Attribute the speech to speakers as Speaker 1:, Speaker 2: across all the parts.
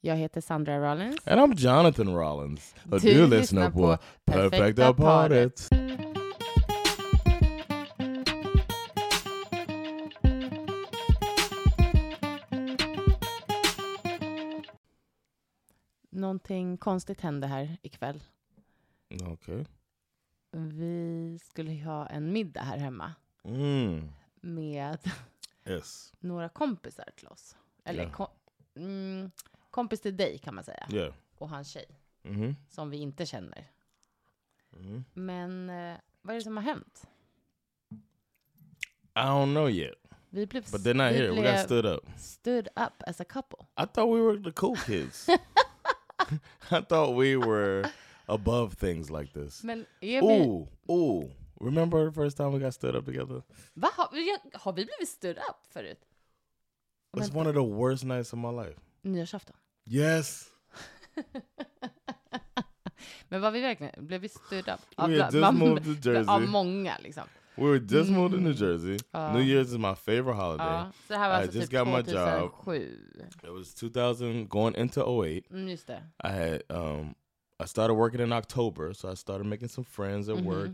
Speaker 1: Jag heter Sandra Rollins.
Speaker 2: And I'm Jonathan Rollins. Och
Speaker 1: Du
Speaker 2: du,
Speaker 1: lyssnar
Speaker 2: lyssnar på
Speaker 1: på Perfekta
Speaker 2: Perfekta
Speaker 1: Paret.
Speaker 2: Paret.
Speaker 1: Någonting konstigt hände här ikväll.
Speaker 2: Okej.
Speaker 1: Vi skulle ju ha en middag här hemma
Speaker 2: Mm.
Speaker 1: med
Speaker 2: Yes.
Speaker 1: några kompisar till oss. Eller
Speaker 2: Ja.
Speaker 1: ko- mm, kompis till dig kan man säga.
Speaker 2: Yeah.
Speaker 1: Och hans tjej,
Speaker 2: Mhm.
Speaker 1: som vi inte känner.
Speaker 2: Mhm.
Speaker 1: Men eh, vad är det som har hänt?
Speaker 2: I don't know yet.
Speaker 1: Vi blev,
Speaker 2: But they're not
Speaker 1: vi
Speaker 2: here. We got stood up.
Speaker 1: stood up as a couple.
Speaker 2: I thought we were the cool kids. I thought we were above things like this.
Speaker 1: Men är vi,
Speaker 2: Ooh, ooh. Remember the first time we got stood up together?
Speaker 1: va, har, vi, har vi blivit stood up förut?
Speaker 2: It's
Speaker 1: Vänta.
Speaker 2: one of the worst nights of my life.
Speaker 1: Nyårsafton.
Speaker 2: Yes.
Speaker 1: Men var vi verkligen, blev vi stood up?
Speaker 2: We had just moved to Jersey.
Speaker 1: av många liksom.
Speaker 2: We were just moved to New Jersey.
Speaker 1: Uh.
Speaker 2: New Year's is my favorite holiday.
Speaker 1: Ja, så det här var
Speaker 2: I
Speaker 1: alltså
Speaker 2: just
Speaker 1: typ
Speaker 2: got my job.
Speaker 1: 2007.
Speaker 2: It was 2000 going into 08.
Speaker 1: Mm, just det.
Speaker 2: I had um I started working in October, so I started making some friends at work,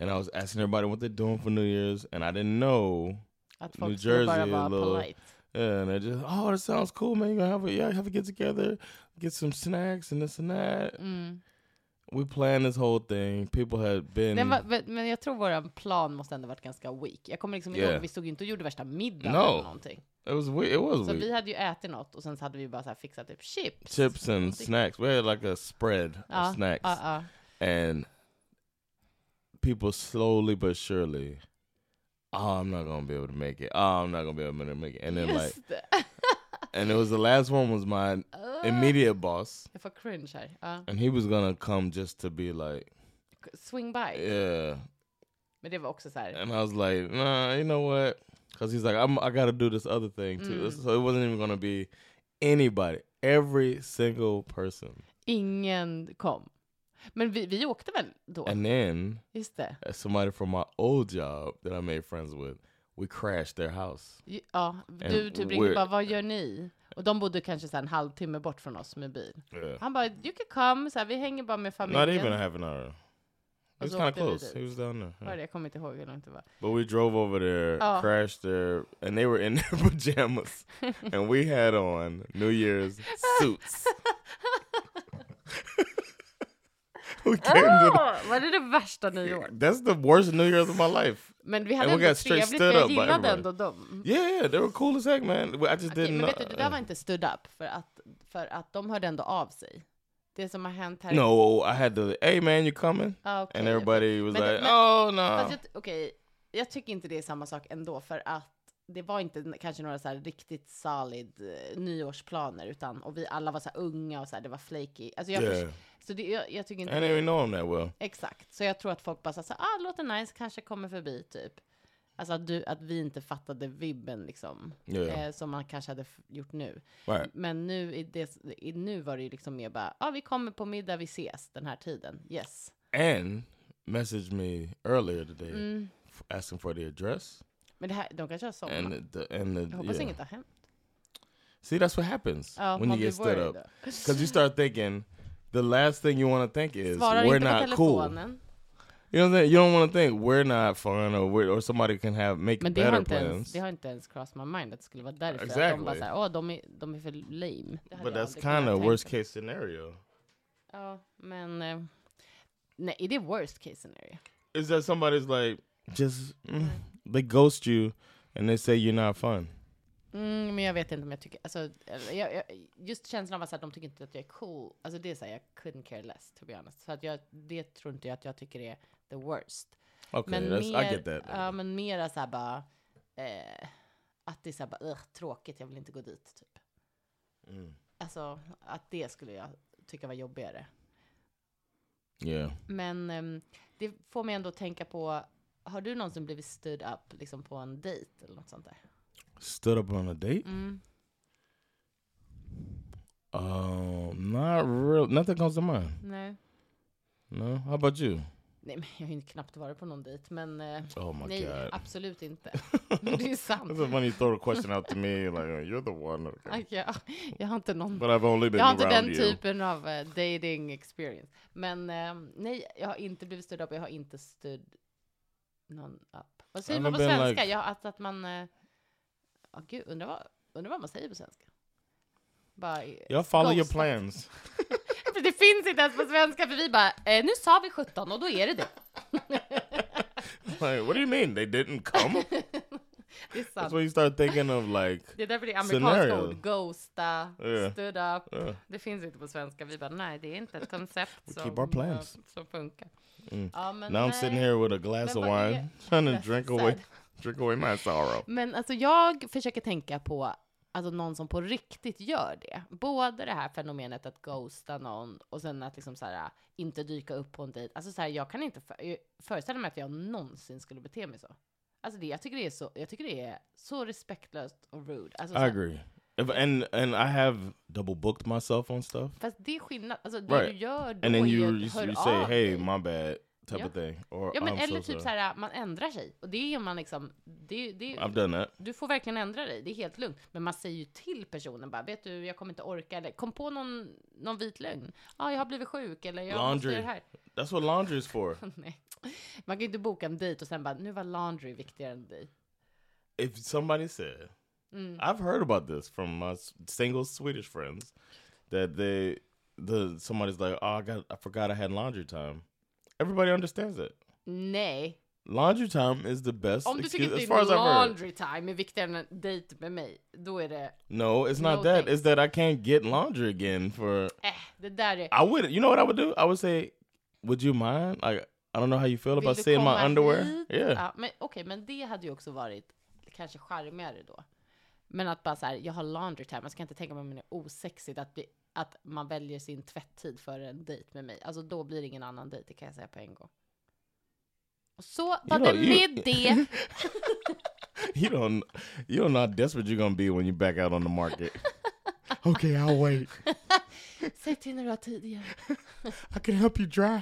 Speaker 2: and I was asking everybody what they're doing for New Year's, and I didn't know.
Speaker 1: Att
Speaker 2: New
Speaker 1: folk skulle bara
Speaker 2: Jersey,
Speaker 1: vara
Speaker 2: little-
Speaker 1: polite.
Speaker 2: And they just, oh, that sounds cool, man. You gonna have a yeah, have a get together, get some snacks and this and that.
Speaker 1: Mm.
Speaker 2: We planned this whole thing. People had been
Speaker 1: Den var, men- men jag tror vår plan måste ändå varit ganska weak. Jag kommer liksom ihåg,
Speaker 2: Yeah.
Speaker 1: vi stod ju inte och gjorde värsta middagen
Speaker 2: No.
Speaker 1: eller någonting.
Speaker 2: it was we it was
Speaker 1: Så
Speaker 2: weird.
Speaker 1: vi hade ju ätit något och sen så hade vi bara så här fixat typ chips.
Speaker 2: chips and
Speaker 1: någonting.
Speaker 2: snacks. We had like a spread
Speaker 1: Ja,
Speaker 2: of snacks,
Speaker 1: ja, ja.
Speaker 2: and people slowly but surely. Oh, I'm not gonna be able to make it. Oh, I'm not gonna be able to make it. And then like
Speaker 1: Just det.
Speaker 2: and it was the last one was my immediate boss,
Speaker 1: Jag får cringe här. Ja.
Speaker 2: and he was gonna come just to be like,
Speaker 1: Swing by.
Speaker 2: yeah,
Speaker 1: Men det var också så här.
Speaker 2: and I was like, nah, you know what? Because he's like, I'm, I gotta do this other thing too, so it wasn't even gonna be anybody, every single person.
Speaker 1: Ingen kom. Men vi, vi åkte väl då?
Speaker 2: And then
Speaker 1: Just det.
Speaker 2: uh, somebody from my old job that I made friends with, we crashed their house.
Speaker 1: Ju- Ja, du
Speaker 2: And
Speaker 1: typ ringde
Speaker 2: we're-
Speaker 1: bara, vad gör ni? Och de bodde kanske så här en halvtimme bort från oss med bil.
Speaker 2: Yeah,
Speaker 1: Han bara, you can come, så här, vi hänger bara med familjen.
Speaker 2: not even a half an hour. It was
Speaker 1: Also,
Speaker 2: kind of
Speaker 1: they did
Speaker 2: close.
Speaker 1: it.
Speaker 2: He was down there.
Speaker 1: Var det? Jag kommer inte ihåg hur långt det var.
Speaker 2: But we drove over there,
Speaker 1: Oh.
Speaker 2: crashed there, and they were in their pajamas, and we had on New Year's suits. we came to the-
Speaker 1: Åh, var det det värsta nyår?
Speaker 2: that's the worst New Year's of my life.
Speaker 1: Men vi hade
Speaker 2: And we
Speaker 1: ändå
Speaker 2: got straight
Speaker 1: trevligt,
Speaker 2: stood
Speaker 1: jag
Speaker 2: up by
Speaker 1: gillade
Speaker 2: everybody.
Speaker 1: ändå dem.
Speaker 2: Yeah, yeah, they were cool as heck, man. I just
Speaker 1: Okej,
Speaker 2: didn't
Speaker 1: men
Speaker 2: know.
Speaker 1: vet du, det där var inte stood up, för att, för att de hörde ändå av sig. Det som har hänt här...
Speaker 2: no, I had Oh, to. Hey, man, you coming?
Speaker 1: Ah, okej.
Speaker 2: And everybody was
Speaker 1: Men-
Speaker 2: like,
Speaker 1: men-
Speaker 2: "Oh
Speaker 1: Fast
Speaker 2: no."
Speaker 1: jag, okej, jag tycker inte det är samma sak ändå för att det var inte n- kanske några så här riktigt solid eh, nyårsplaner utan och vi alla var så här unga och så här, det var flaky. Alltså jag,
Speaker 2: Yeah.
Speaker 1: förs- så det, jag, jag tycker
Speaker 2: I
Speaker 1: inte
Speaker 2: didn't even know him that well.
Speaker 1: exakt. Så jag tror att folk bara sa så här, ah, låter nice, kanske kommer förbi typ. Alltså att, du, att vi inte fattade vibben liksom,
Speaker 2: Yeah.
Speaker 1: eh, som man kanske hade f- gjort nu.
Speaker 2: Right.
Speaker 1: Men nu, i det, i, nu var det ju liksom mer bara, ah, vi kommer på middag, vi ses den här tiden. Yes.
Speaker 2: And messaged me earlier today, f- asking for the address
Speaker 1: Men det här, de kanske har somnat.
Speaker 2: and the and the.
Speaker 1: Jag hoppas
Speaker 2: yeah.
Speaker 1: inget har hänt.
Speaker 2: See, that's what happens
Speaker 1: Oh,
Speaker 2: when you
Speaker 1: I'll be
Speaker 2: get stood
Speaker 1: worried.
Speaker 2: up. Because you start thinking, the last thing you want to think is,
Speaker 1: Svarar
Speaker 2: we're
Speaker 1: inte på
Speaker 2: not cool. You know
Speaker 1: telefonen.
Speaker 2: what I'm saying? You don't want to think, we're not fun or, we're, or somebody can have make
Speaker 1: Men det har,
Speaker 2: better
Speaker 1: inte ens,
Speaker 2: plans.
Speaker 1: det har inte ens crossed my mind att det skulle vara därför. Att de
Speaker 2: Exactly.
Speaker 1: bara såhär, åh de är, de är för lame. Det hade jag
Speaker 2: But that's
Speaker 1: aldrig kunnat
Speaker 2: kind of
Speaker 1: tänka
Speaker 2: worst
Speaker 1: mig.
Speaker 2: case scenario.
Speaker 1: Ja, men... eh, Nej, är det worst case scenario?
Speaker 2: Is that somebody's like, just, mm, they ghost you and they say you're not fun.
Speaker 1: Mm, men jag vet inte om jag tycker... Alltså, eller jag, jag, just känslan av att så här, de tycker inte att jag är cool. Alltså det är såhär, jag couldn't care less to be honest. Så att jag, det tror inte jag att jag tycker är the worst.
Speaker 2: Okay,
Speaker 1: Men
Speaker 2: that's,
Speaker 1: mer,
Speaker 2: uh, I get that.
Speaker 1: Ja, men mera såhär bara... Eh, Ja, Att det är så här, bara, "Ugh, tråkigt, jag vill inte gå dit, typ.
Speaker 2: Mm.
Speaker 1: Alltså, att det skulle jag tycka var jobbigare.
Speaker 2: Yeah.
Speaker 1: Men ehm, det får mig ändå tänka på, har du någonsin blivit stood up liksom på en dejt eller något sånt där?
Speaker 2: Stood up on a date?
Speaker 1: Mm.
Speaker 2: Um, not real. Nothing comes to mind.
Speaker 1: Nej.
Speaker 2: No. How about you?
Speaker 1: Nej, men jag har ju knappt varit på någon dejt, men eh,
Speaker 2: Oh my
Speaker 1: nej,
Speaker 2: god. Oh
Speaker 1: absolut inte. det är sant.
Speaker 2: That's when you throw the question out to me, like oh, you're the one. Okay.
Speaker 1: Aj, ja, jag har inte någon
Speaker 2: But I've only been
Speaker 1: Jag har inte
Speaker 2: around
Speaker 1: den
Speaker 2: you.
Speaker 1: typen av eh, dating experience. Men eh, nej, jag har inte blivit stood up, jag har inte stood någon up. Vad säger
Speaker 2: I've
Speaker 1: man på
Speaker 2: been
Speaker 1: svenska?
Speaker 2: like-
Speaker 1: Ja, att, att man... eh, Ja, gud, undrar vad, undrar vad man säger på svenska. Bara, eh,
Speaker 2: Y'all follow your
Speaker 1: Ghost.
Speaker 2: plans.
Speaker 1: för det finns inte ens på svenska, för vi bara, eh, nu sa vi 17 och då är det det.
Speaker 2: like, what do you mean they didn't come?
Speaker 1: Det är
Speaker 2: That's
Speaker 1: sant.
Speaker 2: when you start thinking of like,
Speaker 1: Det är därför det är amerikanska
Speaker 2: Scenario.
Speaker 1: ord. Ghosta,
Speaker 2: Yeah.
Speaker 1: stood up.
Speaker 2: Yeah.
Speaker 1: Det finns inte på svenska. Vi bara, nej, det är inte ett koncept
Speaker 2: keep our
Speaker 1: som, eh,
Speaker 2: plans.
Speaker 1: som funkar.
Speaker 2: Mm.
Speaker 1: Ja, men eh,
Speaker 2: now I'm
Speaker 1: nej.
Speaker 2: sitting here with a glass
Speaker 1: Men
Speaker 2: of
Speaker 1: vad är-
Speaker 2: wine, trying to
Speaker 1: That's
Speaker 2: drink
Speaker 1: sad.
Speaker 2: away, drink away my sorrow.
Speaker 1: Men alltså jag försöker tänka på alltså någon som på riktigt gör det. Både det här fenomenet att ghosta någon och sen att liksom så här, inte dyka upp på en dejt. Alltså så här, jag kan inte för, föreställa mig att jag någonsin skulle bete mig så. Alltså det, jag tycker det är så, jag tycker det är så respektlöst och rude. Alltså, så
Speaker 2: I
Speaker 1: här,
Speaker 2: agree. If, and and I have double booked myself on stuff,
Speaker 1: Fast det är skillnad, alltså det
Speaker 2: Right.
Speaker 1: du gör då
Speaker 2: and then
Speaker 1: är
Speaker 2: you
Speaker 1: ju
Speaker 2: you,
Speaker 1: att hör
Speaker 2: you say,
Speaker 1: av
Speaker 2: "Hey,
Speaker 1: dig.
Speaker 2: my bad," type
Speaker 1: Yeah.
Speaker 2: of thing, or
Speaker 1: Ja men
Speaker 2: "I'm
Speaker 1: eller typ
Speaker 2: so sorry."
Speaker 1: så här, man ändrar sig. Och det är man liksom, det, det,
Speaker 2: I've done that.
Speaker 1: Du får verkligen ändra dig, det är helt lugnt. Men man säger ju till personen bara, vet du, jag kommer inte orka, eller kom på någon, någon vit lögn. Ja, jag har blivit sjuk, eller jag måste
Speaker 2: Laundry.
Speaker 1: göra det här.
Speaker 2: That's what laundry is for.
Speaker 1: Nej. Man kan ju inte boka en dejt och sen bara, nu var laundry viktigare än dig.
Speaker 2: if somebody said,
Speaker 1: Mm.
Speaker 2: I've heard about this from my s- single Swedish friends that they the somebody's like, oh, I got I forgot I had laundry time. Everybody understands it.
Speaker 1: Nej,
Speaker 2: Laundry time is the best.
Speaker 1: om du tycker
Speaker 2: excuse,
Speaker 1: att
Speaker 2: as
Speaker 1: din
Speaker 2: far as I've heard.
Speaker 1: laundry time är vigtigare än en dejt med mig, då är det,
Speaker 2: No, it's not
Speaker 1: No,
Speaker 2: that.
Speaker 1: thanks.
Speaker 2: It's that I can't get laundry again for.
Speaker 1: äh, det där är...
Speaker 2: I would. You know what I would do? I would say, would you mind? Like I don't know how you feel
Speaker 1: Vill
Speaker 2: about
Speaker 1: du
Speaker 2: seeing
Speaker 1: komma
Speaker 2: my underwear.
Speaker 1: hit?
Speaker 2: Yeah.
Speaker 1: Ja, men, Okej, men det hade ju också varit kanske charmigare då. Men att bara så här, jag har laundry time, man ska inte tänka på att man är osexigt att, bli, att man väljer sin tvätttid för en dejt med mig. Alltså då blir det ingen annan dejt, det kan jag säga på en gång. Och så var
Speaker 2: know,
Speaker 1: det
Speaker 2: you-
Speaker 1: med det. Uh.
Speaker 2: You don't. You don't know how desperate you're gonna be when you back out on the market. okay, I'll wait.
Speaker 1: Säg till när du har tid igen.
Speaker 2: I can help you dry.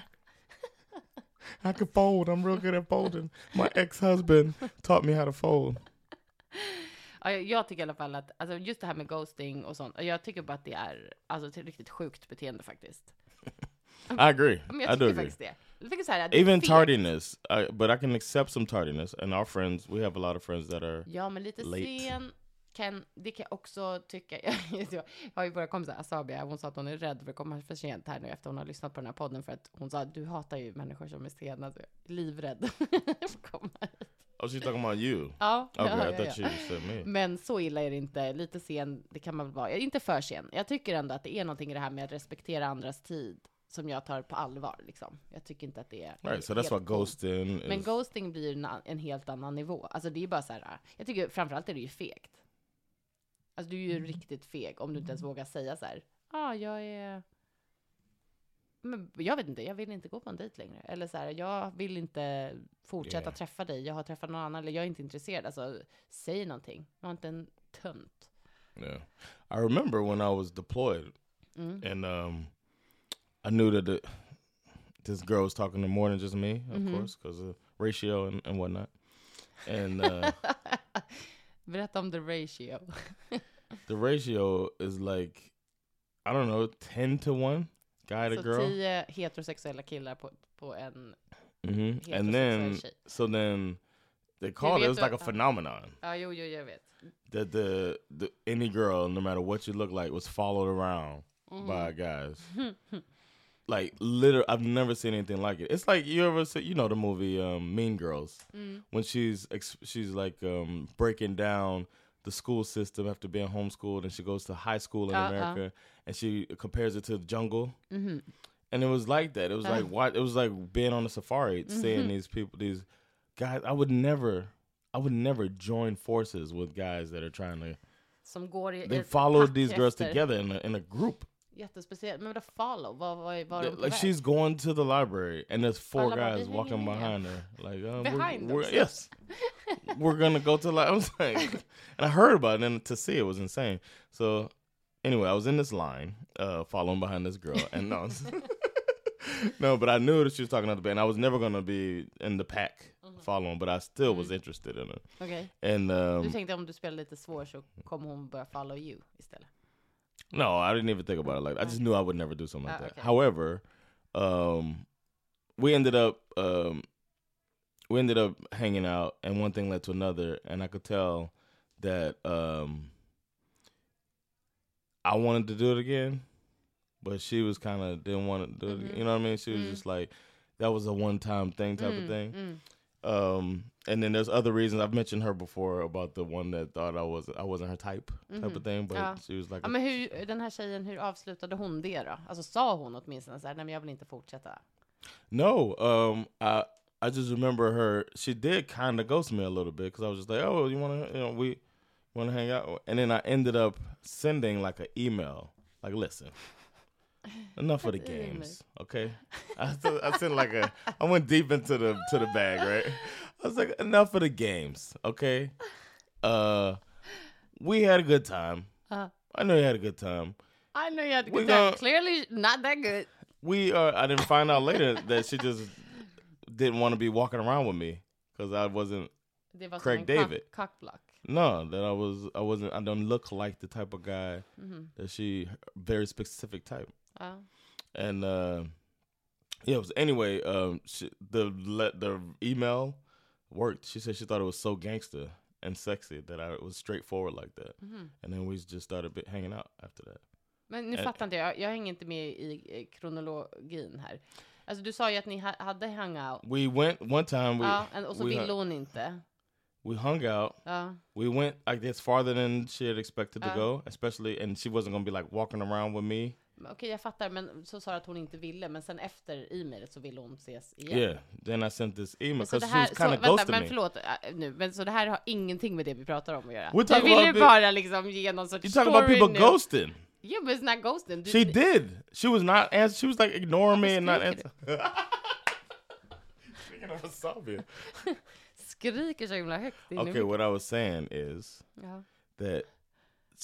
Speaker 2: I can fold. I'm real good at folding. My ex-husband taught me how to fold.
Speaker 1: Ja, jag, jag tycker i alla fall att, alltså just det här med ghosting och sånt, jag tycker bara att det är alltså, ett riktigt sjukt beteende faktiskt.
Speaker 2: I agree.
Speaker 1: Men
Speaker 2: I
Speaker 1: jag
Speaker 2: do
Speaker 1: tycker
Speaker 2: agree.
Speaker 1: faktiskt det. Jag tycker så här, att det är
Speaker 2: Even
Speaker 1: fel.
Speaker 2: tardiness, I, but I can accept some tardiness. And our friends, we have a lot of friends that are.
Speaker 1: Ja, men lite
Speaker 2: Late.
Speaker 1: sen kan, det kan jag också tycka. jag har ju våra kompisar, Asabia, hon sa att hon är rädd för att komma för sent här nu efter hon har lyssnat på den här podden för att hon sa att du hatar ju människor som är sena, så jag är livrädd för att komma hit.
Speaker 2: Oh, she's talking about you.
Speaker 1: Ja,
Speaker 2: Okay,
Speaker 1: ja,
Speaker 2: I
Speaker 1: ja, ja.
Speaker 2: thought you said me.
Speaker 1: Men så illa är det inte. Lite sen, det kan man väl vara. Jag är Inte för sen. Jag tycker ändå att det är någonting i det här med att respektera andras tid som jag tar på allvar. Liksom. Jag tycker inte att det är...
Speaker 2: Right, so that's what
Speaker 1: helt-
Speaker 2: ghosting
Speaker 1: Men
Speaker 2: is.
Speaker 1: ghosting blir ju en, an- en helt annan nivå. Alltså det är ju bara så här, jag tycker framförallt är det ju fegt. Alltså du är
Speaker 2: Mm.
Speaker 1: ju riktigt feg om du inte ens vågar säga så här, ja ah, jag är... Men jag vet inte, jag vill inte gå på en dejt längre. Eller så här, jag vill inte fortsätta
Speaker 2: Yeah.
Speaker 1: träffa dig, jag har träffat någon annan, eller jag är inte intresserad. Alltså, säg någonting. Var inte en tönt.
Speaker 2: Yeah. I remember when I was deployed,
Speaker 1: Mm.
Speaker 2: and um, I knew that the, this girl was talking to more than just me, of
Speaker 1: Mhm.
Speaker 2: course, because of ratio and, and whatnot. And uh,
Speaker 1: Berätta om the ratio.
Speaker 2: the ratio is like, I don't know, 10 to 1 guy to
Speaker 1: Så
Speaker 2: girl.
Speaker 1: Alltså, tio heterosexuella killar på, på en...
Speaker 2: hmm
Speaker 1: heterosexuell
Speaker 2: And then,
Speaker 1: tjej.
Speaker 2: so then they called it, it was
Speaker 1: vet
Speaker 2: like
Speaker 1: du-
Speaker 2: a phenomenon
Speaker 1: Ja, jo, jo, jag vet.
Speaker 2: that the, the any girl, no matter what you look like, was followed around by
Speaker 1: Mm-hmm.
Speaker 2: guys. like, literally, I've never seen anything like it. It's like you ever see, you know, the movie um, Mean Girls
Speaker 1: Mm.
Speaker 2: when she's ex- she's like um, breaking down the school system after being homeschooled, and she goes to high school in
Speaker 1: Uh-uh.
Speaker 2: America, and she compares it to the jungle.
Speaker 1: Mhm.
Speaker 2: And it was like that. It was
Speaker 1: Uh. Mm-hmm.
Speaker 2: like why it was like being on a safari, seeing these people, these guys. I would never, I would never join forces with guys that are trying to.
Speaker 1: Som går i
Speaker 2: They
Speaker 1: ett
Speaker 2: followed
Speaker 1: pack
Speaker 2: these girls
Speaker 1: efter.
Speaker 2: together in a, in a group.
Speaker 1: Jättespeciellt. Men vadå follow? Vad var, var de på
Speaker 2: Like
Speaker 1: väg?
Speaker 2: she's going to the library, and there's four
Speaker 1: Alla bara, "Vi
Speaker 2: guys
Speaker 1: hänger
Speaker 2: walking
Speaker 1: med."
Speaker 2: behind her. Like um,
Speaker 1: Behind
Speaker 2: we're, we're-
Speaker 1: us.
Speaker 2: yes, we're gonna go to. Li- I was like, and I heard about it, and to see it was insane. So anyway, I was in this line, uh, following behind this girl, and no, no, but I knew that she was talking about the band. I was never gonna be in the pack following, but I still was interested in her.
Speaker 1: Okej.
Speaker 2: And
Speaker 1: Du
Speaker 2: um,
Speaker 1: tänkte om du spelar lite svår så kommer hon börja follow you istället.
Speaker 2: No, I didn't even think about it like that. I just knew I would never do something like
Speaker 1: Ah,
Speaker 2: that.
Speaker 1: okay.
Speaker 2: However, um, we ended up um, we ended up hanging out, and one thing led to another, and I could tell that um, I wanted to do it again, but she was kind of didn't want to do it.
Speaker 1: Mm-hmm.
Speaker 2: Again, you know what I mean? She was just like, that was a one time thing type of thing.
Speaker 1: Mm.
Speaker 2: Um, and then there's other reasons I've mentioned her before about the one that thought I was I wasn't her type type
Speaker 1: Mm-hmm.
Speaker 2: of thing, but
Speaker 1: Yeah.
Speaker 2: she was like
Speaker 1: Ja,
Speaker 2: a
Speaker 1: men hur, den här tjejen, hur avslutade hon det då? Alltså sa hon åtminstone så här, nej men jag vill inte fortsätta.
Speaker 2: No, um, I I just remember her. She did kind of ghost me a little bit because I was just like, "Oh, you want to, you know, we want to hang out." And then I ended up sending like an email, like, "Listen, enough of the games, okay?" I, s- I sent like a, I went deep into the to the bag, right? I was like, "Enough of the games, okay?" Uh, we had a good time.
Speaker 1: Uh.
Speaker 2: I know you had a good time.
Speaker 1: I know you had
Speaker 2: We
Speaker 1: good time.
Speaker 2: gon-
Speaker 1: Clearly not that good.
Speaker 2: we uh I didn't find out later that she just didn't want to be walking around with me because I wasn't
Speaker 1: Det var som
Speaker 2: Craig
Speaker 1: en
Speaker 2: David.
Speaker 1: Cock, cockblock.
Speaker 2: no that I was I wasn't I don't look like the type of guy
Speaker 1: Mhm.
Speaker 2: that she very specific type
Speaker 1: Ja.
Speaker 2: and uh yeah it was anyway um she, the let the email worked she said she thought it was so gangster and sexy that I was straightforward like that
Speaker 1: Mhm.
Speaker 2: and then we just started bit- hanging out after that
Speaker 1: Men nu
Speaker 2: Eh.
Speaker 1: fattar inte jag. Jag hänger inte med i eh, kronologin här. Alltså du sa ju att ni ha, hade hangout.
Speaker 2: we went one time we
Speaker 1: ja, and- och så
Speaker 2: we,
Speaker 1: ville
Speaker 2: hung,
Speaker 1: hon inte.
Speaker 2: we hung out
Speaker 1: Ja.
Speaker 2: we went like this farther than she had expected to
Speaker 1: Uh.
Speaker 2: go, especially, and she wasn't gonna be like walking around with me.
Speaker 1: Men Okej, jag fattar. Men så sa du att hon inte ville. Men sen efter e-mailet så ville hon ses
Speaker 2: Yeah.
Speaker 1: igen.
Speaker 2: Then I sent this email
Speaker 1: Så
Speaker 2: because
Speaker 1: det
Speaker 2: she
Speaker 1: här,
Speaker 2: was
Speaker 1: så,
Speaker 2: kind of
Speaker 1: vänta,
Speaker 2: ghosting
Speaker 1: men
Speaker 2: me.
Speaker 1: förlåt äh, nu, men så det här har ingenting med det vi pratar om att göra.
Speaker 2: We're
Speaker 1: Du
Speaker 2: talking
Speaker 1: vill ju
Speaker 2: about the-
Speaker 1: bara liksom ge någon sorts
Speaker 2: You talking about
Speaker 1: story
Speaker 2: people
Speaker 1: nu.
Speaker 2: ghosting?
Speaker 1: Yeah, but it's not ghosting. Du,
Speaker 2: She did. She was not answering. She was like ignoring me and not
Speaker 1: Skriker
Speaker 2: answering. Speaking of Wasabi.
Speaker 1: skriker så himla högt in i
Speaker 2: Okay,
Speaker 1: micken.
Speaker 2: what I was saying is
Speaker 1: ja.
Speaker 2: that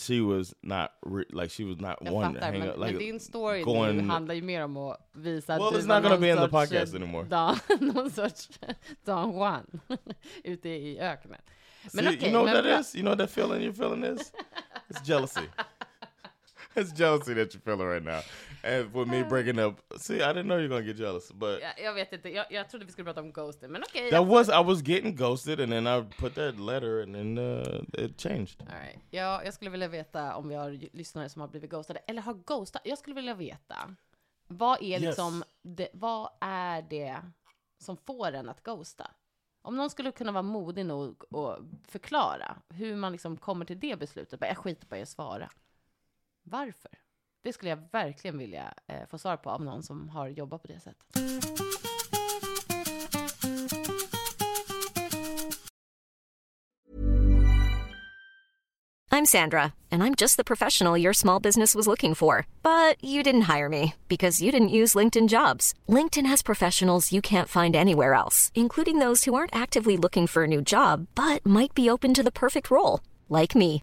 Speaker 2: she was not re- like she was not
Speaker 1: Jag
Speaker 2: one to
Speaker 1: fattar,
Speaker 2: hang
Speaker 1: men,
Speaker 2: up.
Speaker 1: men
Speaker 2: Like
Speaker 1: din story nu
Speaker 2: going-
Speaker 1: handlar ju mer om att visa
Speaker 2: Well,
Speaker 1: att
Speaker 2: it's
Speaker 1: var
Speaker 2: not gonna
Speaker 1: någon
Speaker 2: be in the
Speaker 1: sorts,
Speaker 2: podcast
Speaker 1: eh,
Speaker 2: anymore.
Speaker 1: Dan, någon sorts Don Juan ute i öknen. Men
Speaker 2: See,
Speaker 1: okej,
Speaker 2: you know
Speaker 1: men
Speaker 2: what that
Speaker 1: bra.
Speaker 2: is? You know what that feeling you're feeling is? It's jealousy. it's jealousy that you're feeling right now. And with me breaking up, see, I didn't know you're gonna get jealous, but
Speaker 1: Jag, jag vet inte, jag, jag trodde vi skulle prata om ghosten, men okej.
Speaker 2: that was I was getting ghosted, and then I put that letter, and then uh, it changed.
Speaker 1: All right. ja, jag skulle vilja veta om vi har j- lyssnare som har blivit ghostade, eller har ghostat. Jag skulle vilja veta, vad är,
Speaker 2: Yes.
Speaker 1: liksom, det, vad är det som får en att ghosta? Om någon skulle kunna vara modig nog och förklara hur man liksom kommer till det beslutet, bara, jag skiter bara i att svara. Varför? Det skulle jag verkligen vilja eh, få svar på av någon som har jobbat på det sättet.
Speaker 3: I'm Sandra, and I'm just the professional your small business was looking for. But you didn't hire me because you didn't use LinkedIn jobs. LinkedIn has professionals you can't find anywhere else, including those who aren't actively looking for a new job but might be open to the perfect role, like me.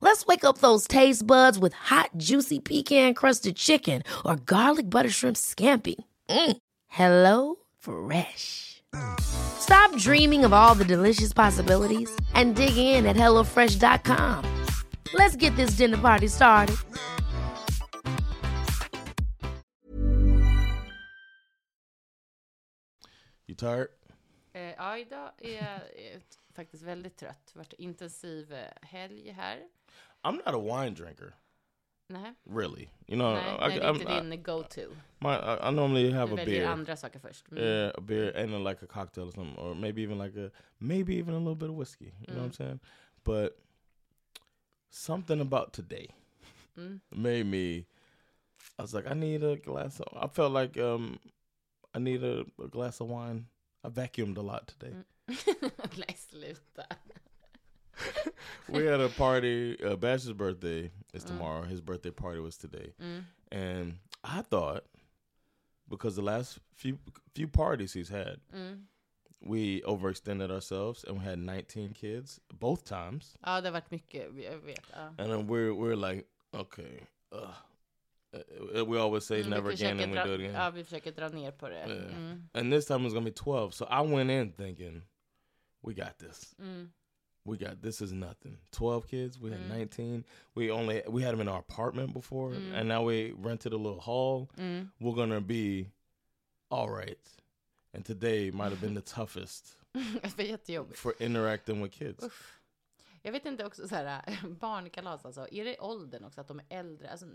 Speaker 4: Let's wake up those taste buds with hot, juicy pecan crusted chicken or garlic butter shrimp scampi. Mm. Hello Fresh. Stop dreaming of all the delicious possibilities and dig in at HelloFresh.com. Let's get this dinner party started.
Speaker 2: You tired?
Speaker 1: Eh, ja, idag är jag eh, faktiskt väldigt trött. Vart intensiv eh, helg här.
Speaker 2: I'm not a wine drinker.
Speaker 1: Nej,
Speaker 2: really. You know,
Speaker 1: nej,
Speaker 2: I,
Speaker 1: nej, det
Speaker 2: I,
Speaker 1: är inte
Speaker 2: I,
Speaker 1: din go-to.
Speaker 2: my, I, I normally have
Speaker 1: Du
Speaker 2: a
Speaker 1: väljer
Speaker 2: beer.
Speaker 1: andra saker först. Mm.
Speaker 2: Yeah, a beer and then like a cocktail or something, or maybe even like a maybe even a little bit of whiskey. You know what I'm saying? But something about today Eh.
Speaker 1: Mm.
Speaker 2: made me. I was like, I need a glass. Of, I felt like um, I need a, a glass of wine. I vacuumed a lot today.
Speaker 1: nej, sluta.
Speaker 2: we had a party. Uh, Bash's birthday is tomorrow. His birthday party was today, and I thought because the last few few parties he's had, we overextended ourselves and we had 19 kids both times,
Speaker 1: Ja, det har varit mycket, jag vet. Ja.
Speaker 2: and then we're we're like, okay, ugh. Uh, we always say
Speaker 1: Mm,
Speaker 2: never
Speaker 1: vi
Speaker 2: again,
Speaker 1: försöker
Speaker 2: and we
Speaker 1: dra-
Speaker 2: do it again. Eh.
Speaker 1: Ja, vi försöker dra ner på det.
Speaker 2: Yeah.
Speaker 1: Mm.
Speaker 2: And this time it's gonna be 12. So I went in thinking, we got this.
Speaker 1: Mm.
Speaker 2: we got this is nothing. Twelve kids. We had nineteen. We only we had them in our apartment before,
Speaker 1: Mm.
Speaker 2: and now we rented a little hall. We're gonna be all right. And today might have been the toughest
Speaker 1: det var jättejobbigt.
Speaker 2: for interacting with kids.
Speaker 1: Jag vet inte också så här, barnkalas alltså, är det åldern också att de är äldre? Alltså,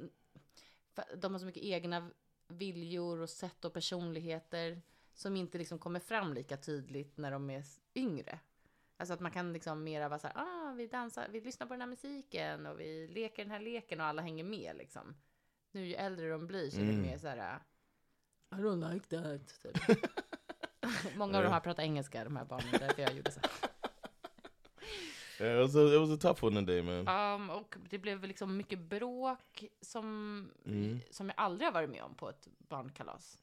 Speaker 1: för- de har så mycket egna viljor och sätt och personligheter som inte liksom kommer fram lika tydligt när de är s- yngre. Alltså att man kan liksom mera vara så här, ah, vi dansar, vi lyssnar på den här musiken och vi leker den här leken och alla hänger med liksom. Nu ju äldre de blir så är det mer så här, I don't like that. Typ. Många av de här pratar engelska, de här barnen, därför jag gjorde så. här.
Speaker 2: Yeah, it was a, it was a tough one today, man.
Speaker 1: Um, och det blev liksom mycket bråk som,
Speaker 2: Mm.
Speaker 1: som jag aldrig har varit med om på ett barnkalas.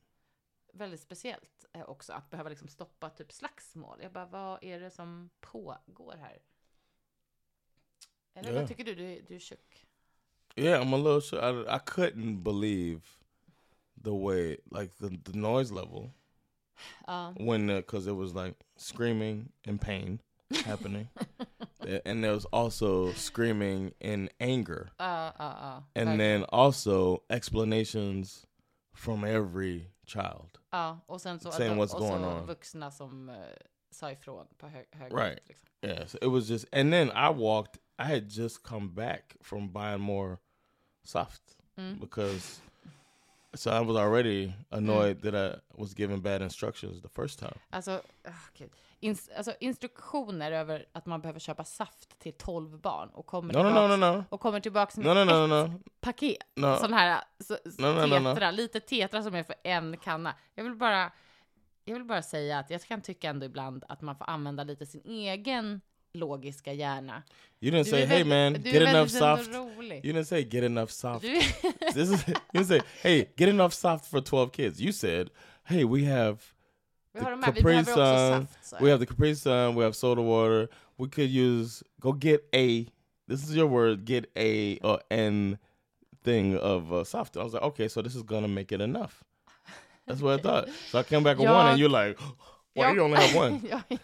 Speaker 1: Väldigt speciellt eh, också att behöva liksom stoppa typ slagsmål. Jag bara, vad är det som pågår här? Eller
Speaker 2: Ja.
Speaker 1: vad tycker du? Du, du är tjock.
Speaker 2: Yeah, I'm a little. Sure. I I couldn't believe the way like the, the noise level
Speaker 1: Ja.
Speaker 2: when because it was like screaming and pain happening, and there was also screaming and anger.
Speaker 1: Ja, ja, ja.
Speaker 2: and then also explanations from every child.
Speaker 1: Ja, och sen så,
Speaker 2: Saying what's
Speaker 1: och
Speaker 2: going
Speaker 1: så
Speaker 2: on.
Speaker 1: vuxna som eh, sa ifrån på hög, hög
Speaker 2: Right.
Speaker 1: liksom.
Speaker 2: Yeah, so it was just, and then I walked. I had just come back from buying more soft because, so I was already annoyed that I was giving bad instructions the first time.
Speaker 1: Alltså, ah, gud. Ins- alltså instruktioner över att man behöver köpa saft till 12 barn och kommer
Speaker 2: No, no, no,
Speaker 1: tillbaks-
Speaker 2: no, no.
Speaker 1: och kommer tillbaks med
Speaker 2: No, no, no,
Speaker 1: ett
Speaker 2: no, no.
Speaker 1: paket.
Speaker 2: No.
Speaker 1: Sån här så,
Speaker 2: No, no, no,
Speaker 1: tetra,
Speaker 2: no.
Speaker 1: lite tetra som är för en kanna. Jag vill bara, jag vill bara säga att jag kan tycka ändå ibland att man får använda lite sin egen logiska hjärna.
Speaker 2: You didn't
Speaker 1: Du
Speaker 2: say,
Speaker 1: är
Speaker 2: hey
Speaker 1: väldigt-
Speaker 2: man,
Speaker 1: du är
Speaker 2: get enough
Speaker 1: väldigt ändå
Speaker 2: soft.
Speaker 1: rolig.
Speaker 2: You didn't say get enough soft.
Speaker 1: Du,
Speaker 2: this is you didn't say, hey, get enough soft for twelve kids. You said, hey, we have
Speaker 1: vi har de här, vi behöver också saft. sa
Speaker 2: we
Speaker 1: jag.
Speaker 2: have the Capri Sun. We have soda water. We could use go get a. This is your word. Get a or n thing of uh, soft. I was like, okay, so this is gonna make it enough. That's what I thought. So I came back with one, and you're like, why do you only have one?
Speaker 1: jag,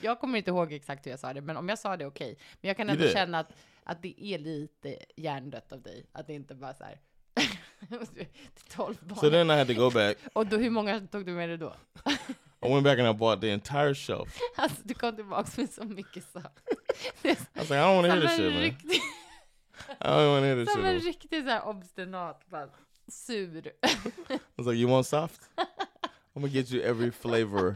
Speaker 1: jag kommer inte ihåg exakt hur jag sa det, men om jag sa det okej. Men jag kan
Speaker 2: You
Speaker 1: ändå
Speaker 2: did.
Speaker 1: känna att, att det är lite hjärndött av dig. Att det inte bara så här. det är 12 barn.
Speaker 2: So then I had to go back.
Speaker 1: Och då, hur många tog du med dig då?
Speaker 2: I went back and I bought the entire shelf.
Speaker 1: Alltså du kom tillbaka med så mycket saker.
Speaker 2: I was like, I don't want to
Speaker 1: Som
Speaker 2: hear this shit,
Speaker 1: en
Speaker 2: man.
Speaker 1: riktig,
Speaker 2: I don't want to hear this shit.
Speaker 1: som en
Speaker 2: man.
Speaker 1: riktig så här obstinat, bara sur.
Speaker 2: I was like, "You want soft? I'm gonna get you every flavor."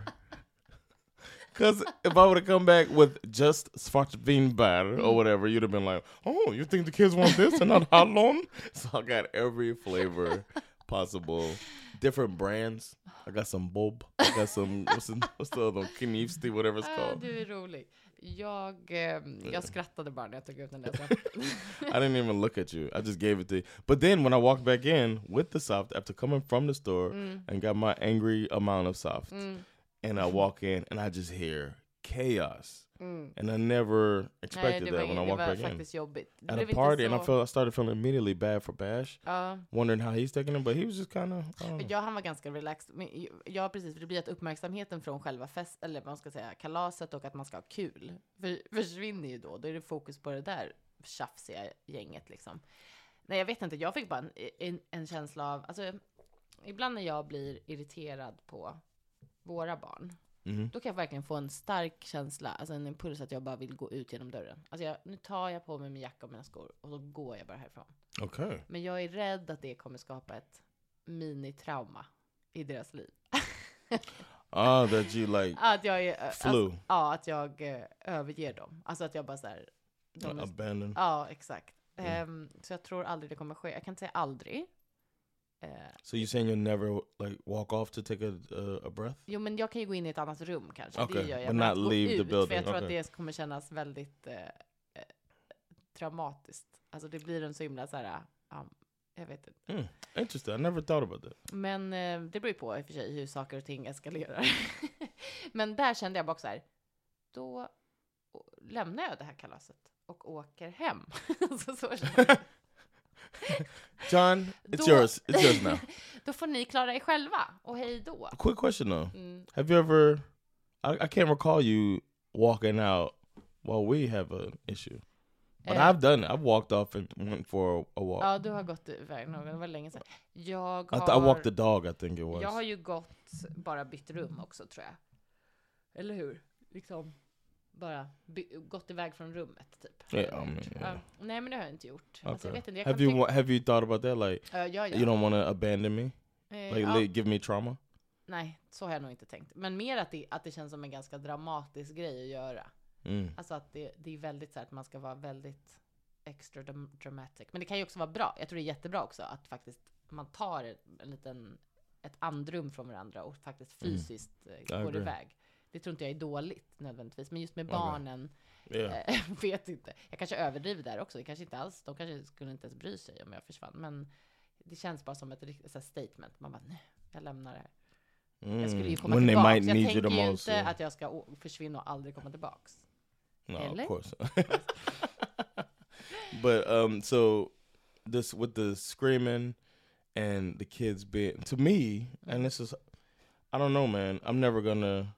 Speaker 2: Cause if I would have come back with just Svartvinbär or whatever, you'd have been like, "Oh, you think the kids want this and not Hallon?" So I got every flavor possible, different brands. I got some Bob. I got some what's the, what's the other one? Knivsti, whatever it's
Speaker 1: Ah,
Speaker 2: called.
Speaker 1: du är rolig. Jag, ehm, jag skrattade bara när jag tog ut den där saften.
Speaker 2: I didn't even look at you. I just gave it to you. But then when I walked back in with the soft after coming from the store and got my angry amount of soft, and I walk in and I just hear chaos. And I never
Speaker 1: Nej,
Speaker 2: expected
Speaker 1: det var,
Speaker 2: that when I
Speaker 1: det
Speaker 2: walked
Speaker 1: var
Speaker 2: back in.
Speaker 1: faktiskt jobbigt. Det
Speaker 2: At a
Speaker 1: blev inte
Speaker 2: party, and I
Speaker 1: så-
Speaker 2: felt I started feeling immediately bad for Bash,
Speaker 1: Ja.
Speaker 2: wondering how he's taking it, but he was just kind of.
Speaker 1: Men jag, han var ganska relaxed. Men j- jag har precis, för det blir att uppmärksamheten från själva fest, eller vad man ska säga, kalaset och att man ska ha kul för, försvinner ju då. Då är det fokus på det där tjafsiga gänget liksom. Nej, jag vet inte. Jag fick bara en, en, en känsla av, alltså ibland när jag blir irriterad på våra barn
Speaker 2: Mhm.
Speaker 1: Då kan jag verkligen få en stark känsla, alltså en impuls att jag bara vill gå ut genom dörren. Alltså jag, nu tar jag på mig min jacka och mina skor och så går jag bara härifrån.
Speaker 2: Okej.
Speaker 1: Men jag är rädd att det kommer skapa ett minitrauma i deras liv.
Speaker 2: Ah, that you like
Speaker 1: att jag är... Alltså,
Speaker 2: flew.
Speaker 1: ja, att jag eh, överger dem. Alltså att jag bara så här... De är,
Speaker 2: abandoned.
Speaker 1: ja, exakt. Ehm, så jag tror aldrig det kommer ske. Jag kan inte säga aldrig. Eh,
Speaker 2: So you saying you'll never like walk off to take a a, a breath?
Speaker 1: Jo men jag kan ju gå in i ett annat rum kanske.
Speaker 2: Okej,
Speaker 1: Det gör jag.
Speaker 2: but
Speaker 1: Men
Speaker 2: not
Speaker 1: att gå
Speaker 2: leave the
Speaker 1: ut, För
Speaker 2: building.
Speaker 1: jag tror att
Speaker 2: Okej.
Speaker 1: det kommer kännas väldigt eh, eh, traumatiskt. Alltså det blir en så himla så här, ja, jag vet inte.
Speaker 2: Mm, interesting. I never thought about that.
Speaker 1: Men eh, det beror ju på i och för sig hur saker och ting eskalerar. men där kände jag bara också så här, då å- lämnar jag det här kalaset och åker hem. så, så kände jag.
Speaker 2: John, it's
Speaker 1: Då-
Speaker 2: yours. It's yours now.
Speaker 1: då får ni klara er själva och hej då.
Speaker 2: Quick question though.
Speaker 1: Mm.
Speaker 2: Have you ever? I, I can't recall you walking out while we have an issue, but
Speaker 1: Eh.
Speaker 2: I've done it. I've walked off and went for a, a walk.
Speaker 1: Ja, du har gått iväg någon gång, det var länge sedan. Jag
Speaker 2: I,
Speaker 1: har...
Speaker 2: th- I walked the dog. I think it was.
Speaker 1: Jag har ju gått, bara bytt rum också tror jag. Eller hur? Liksom bara by- gått iväg från rummet typ.
Speaker 2: Ja, ja, men, ja.
Speaker 1: Ja. Nej men det har jag inte gjort. Alltså, jag vet inte, jag
Speaker 2: have
Speaker 1: kan
Speaker 2: you
Speaker 1: tycka-
Speaker 2: wa- have you thought about that? Like
Speaker 1: Ja, ja, ja.
Speaker 2: you don't want to abandon me.
Speaker 1: Oh, Eh,
Speaker 2: Like
Speaker 1: ja.
Speaker 2: li- give me trauma.
Speaker 1: Nej, så har jag nog inte tänkt. Men mer att det, att det känns som en ganska dramatisk grej att göra.
Speaker 2: Mm.
Speaker 1: Alltså att det, det är väldigt så här att man ska vara väldigt extra dram- dramatic. Men det kan ju också vara bra. Jag tror det är jättebra också att faktiskt man tar en liten, ett andrum från varandra och faktiskt fysiskt eh, går
Speaker 2: Mm. agree.
Speaker 1: iväg. Det tror inte jag är dåligt nödvändigtvis, men just med barnen
Speaker 2: Yeah.
Speaker 1: eh, vet inte. Jag kanske överdriver där också. Det kanske inte alls, de kanske skulle inte ens bry sig om jag försvann, men det känns bara som ett riktigt så här statement. Man bara, nej, jag lämnar det här. Jag skulle ju
Speaker 2: Mm.
Speaker 1: komma
Speaker 2: When they
Speaker 1: tillbaks.
Speaker 2: might
Speaker 1: jag
Speaker 2: need you
Speaker 1: tänker
Speaker 2: the
Speaker 1: ju
Speaker 2: most,
Speaker 1: inte
Speaker 2: yeah.
Speaker 1: att jag ska å- försvinna och aldrig komma tillbaks.
Speaker 2: No,
Speaker 1: Eller?
Speaker 2: of course. but um, so this with the screaming and the kids being to me, and this is, I don't know, man. I'm never gonna,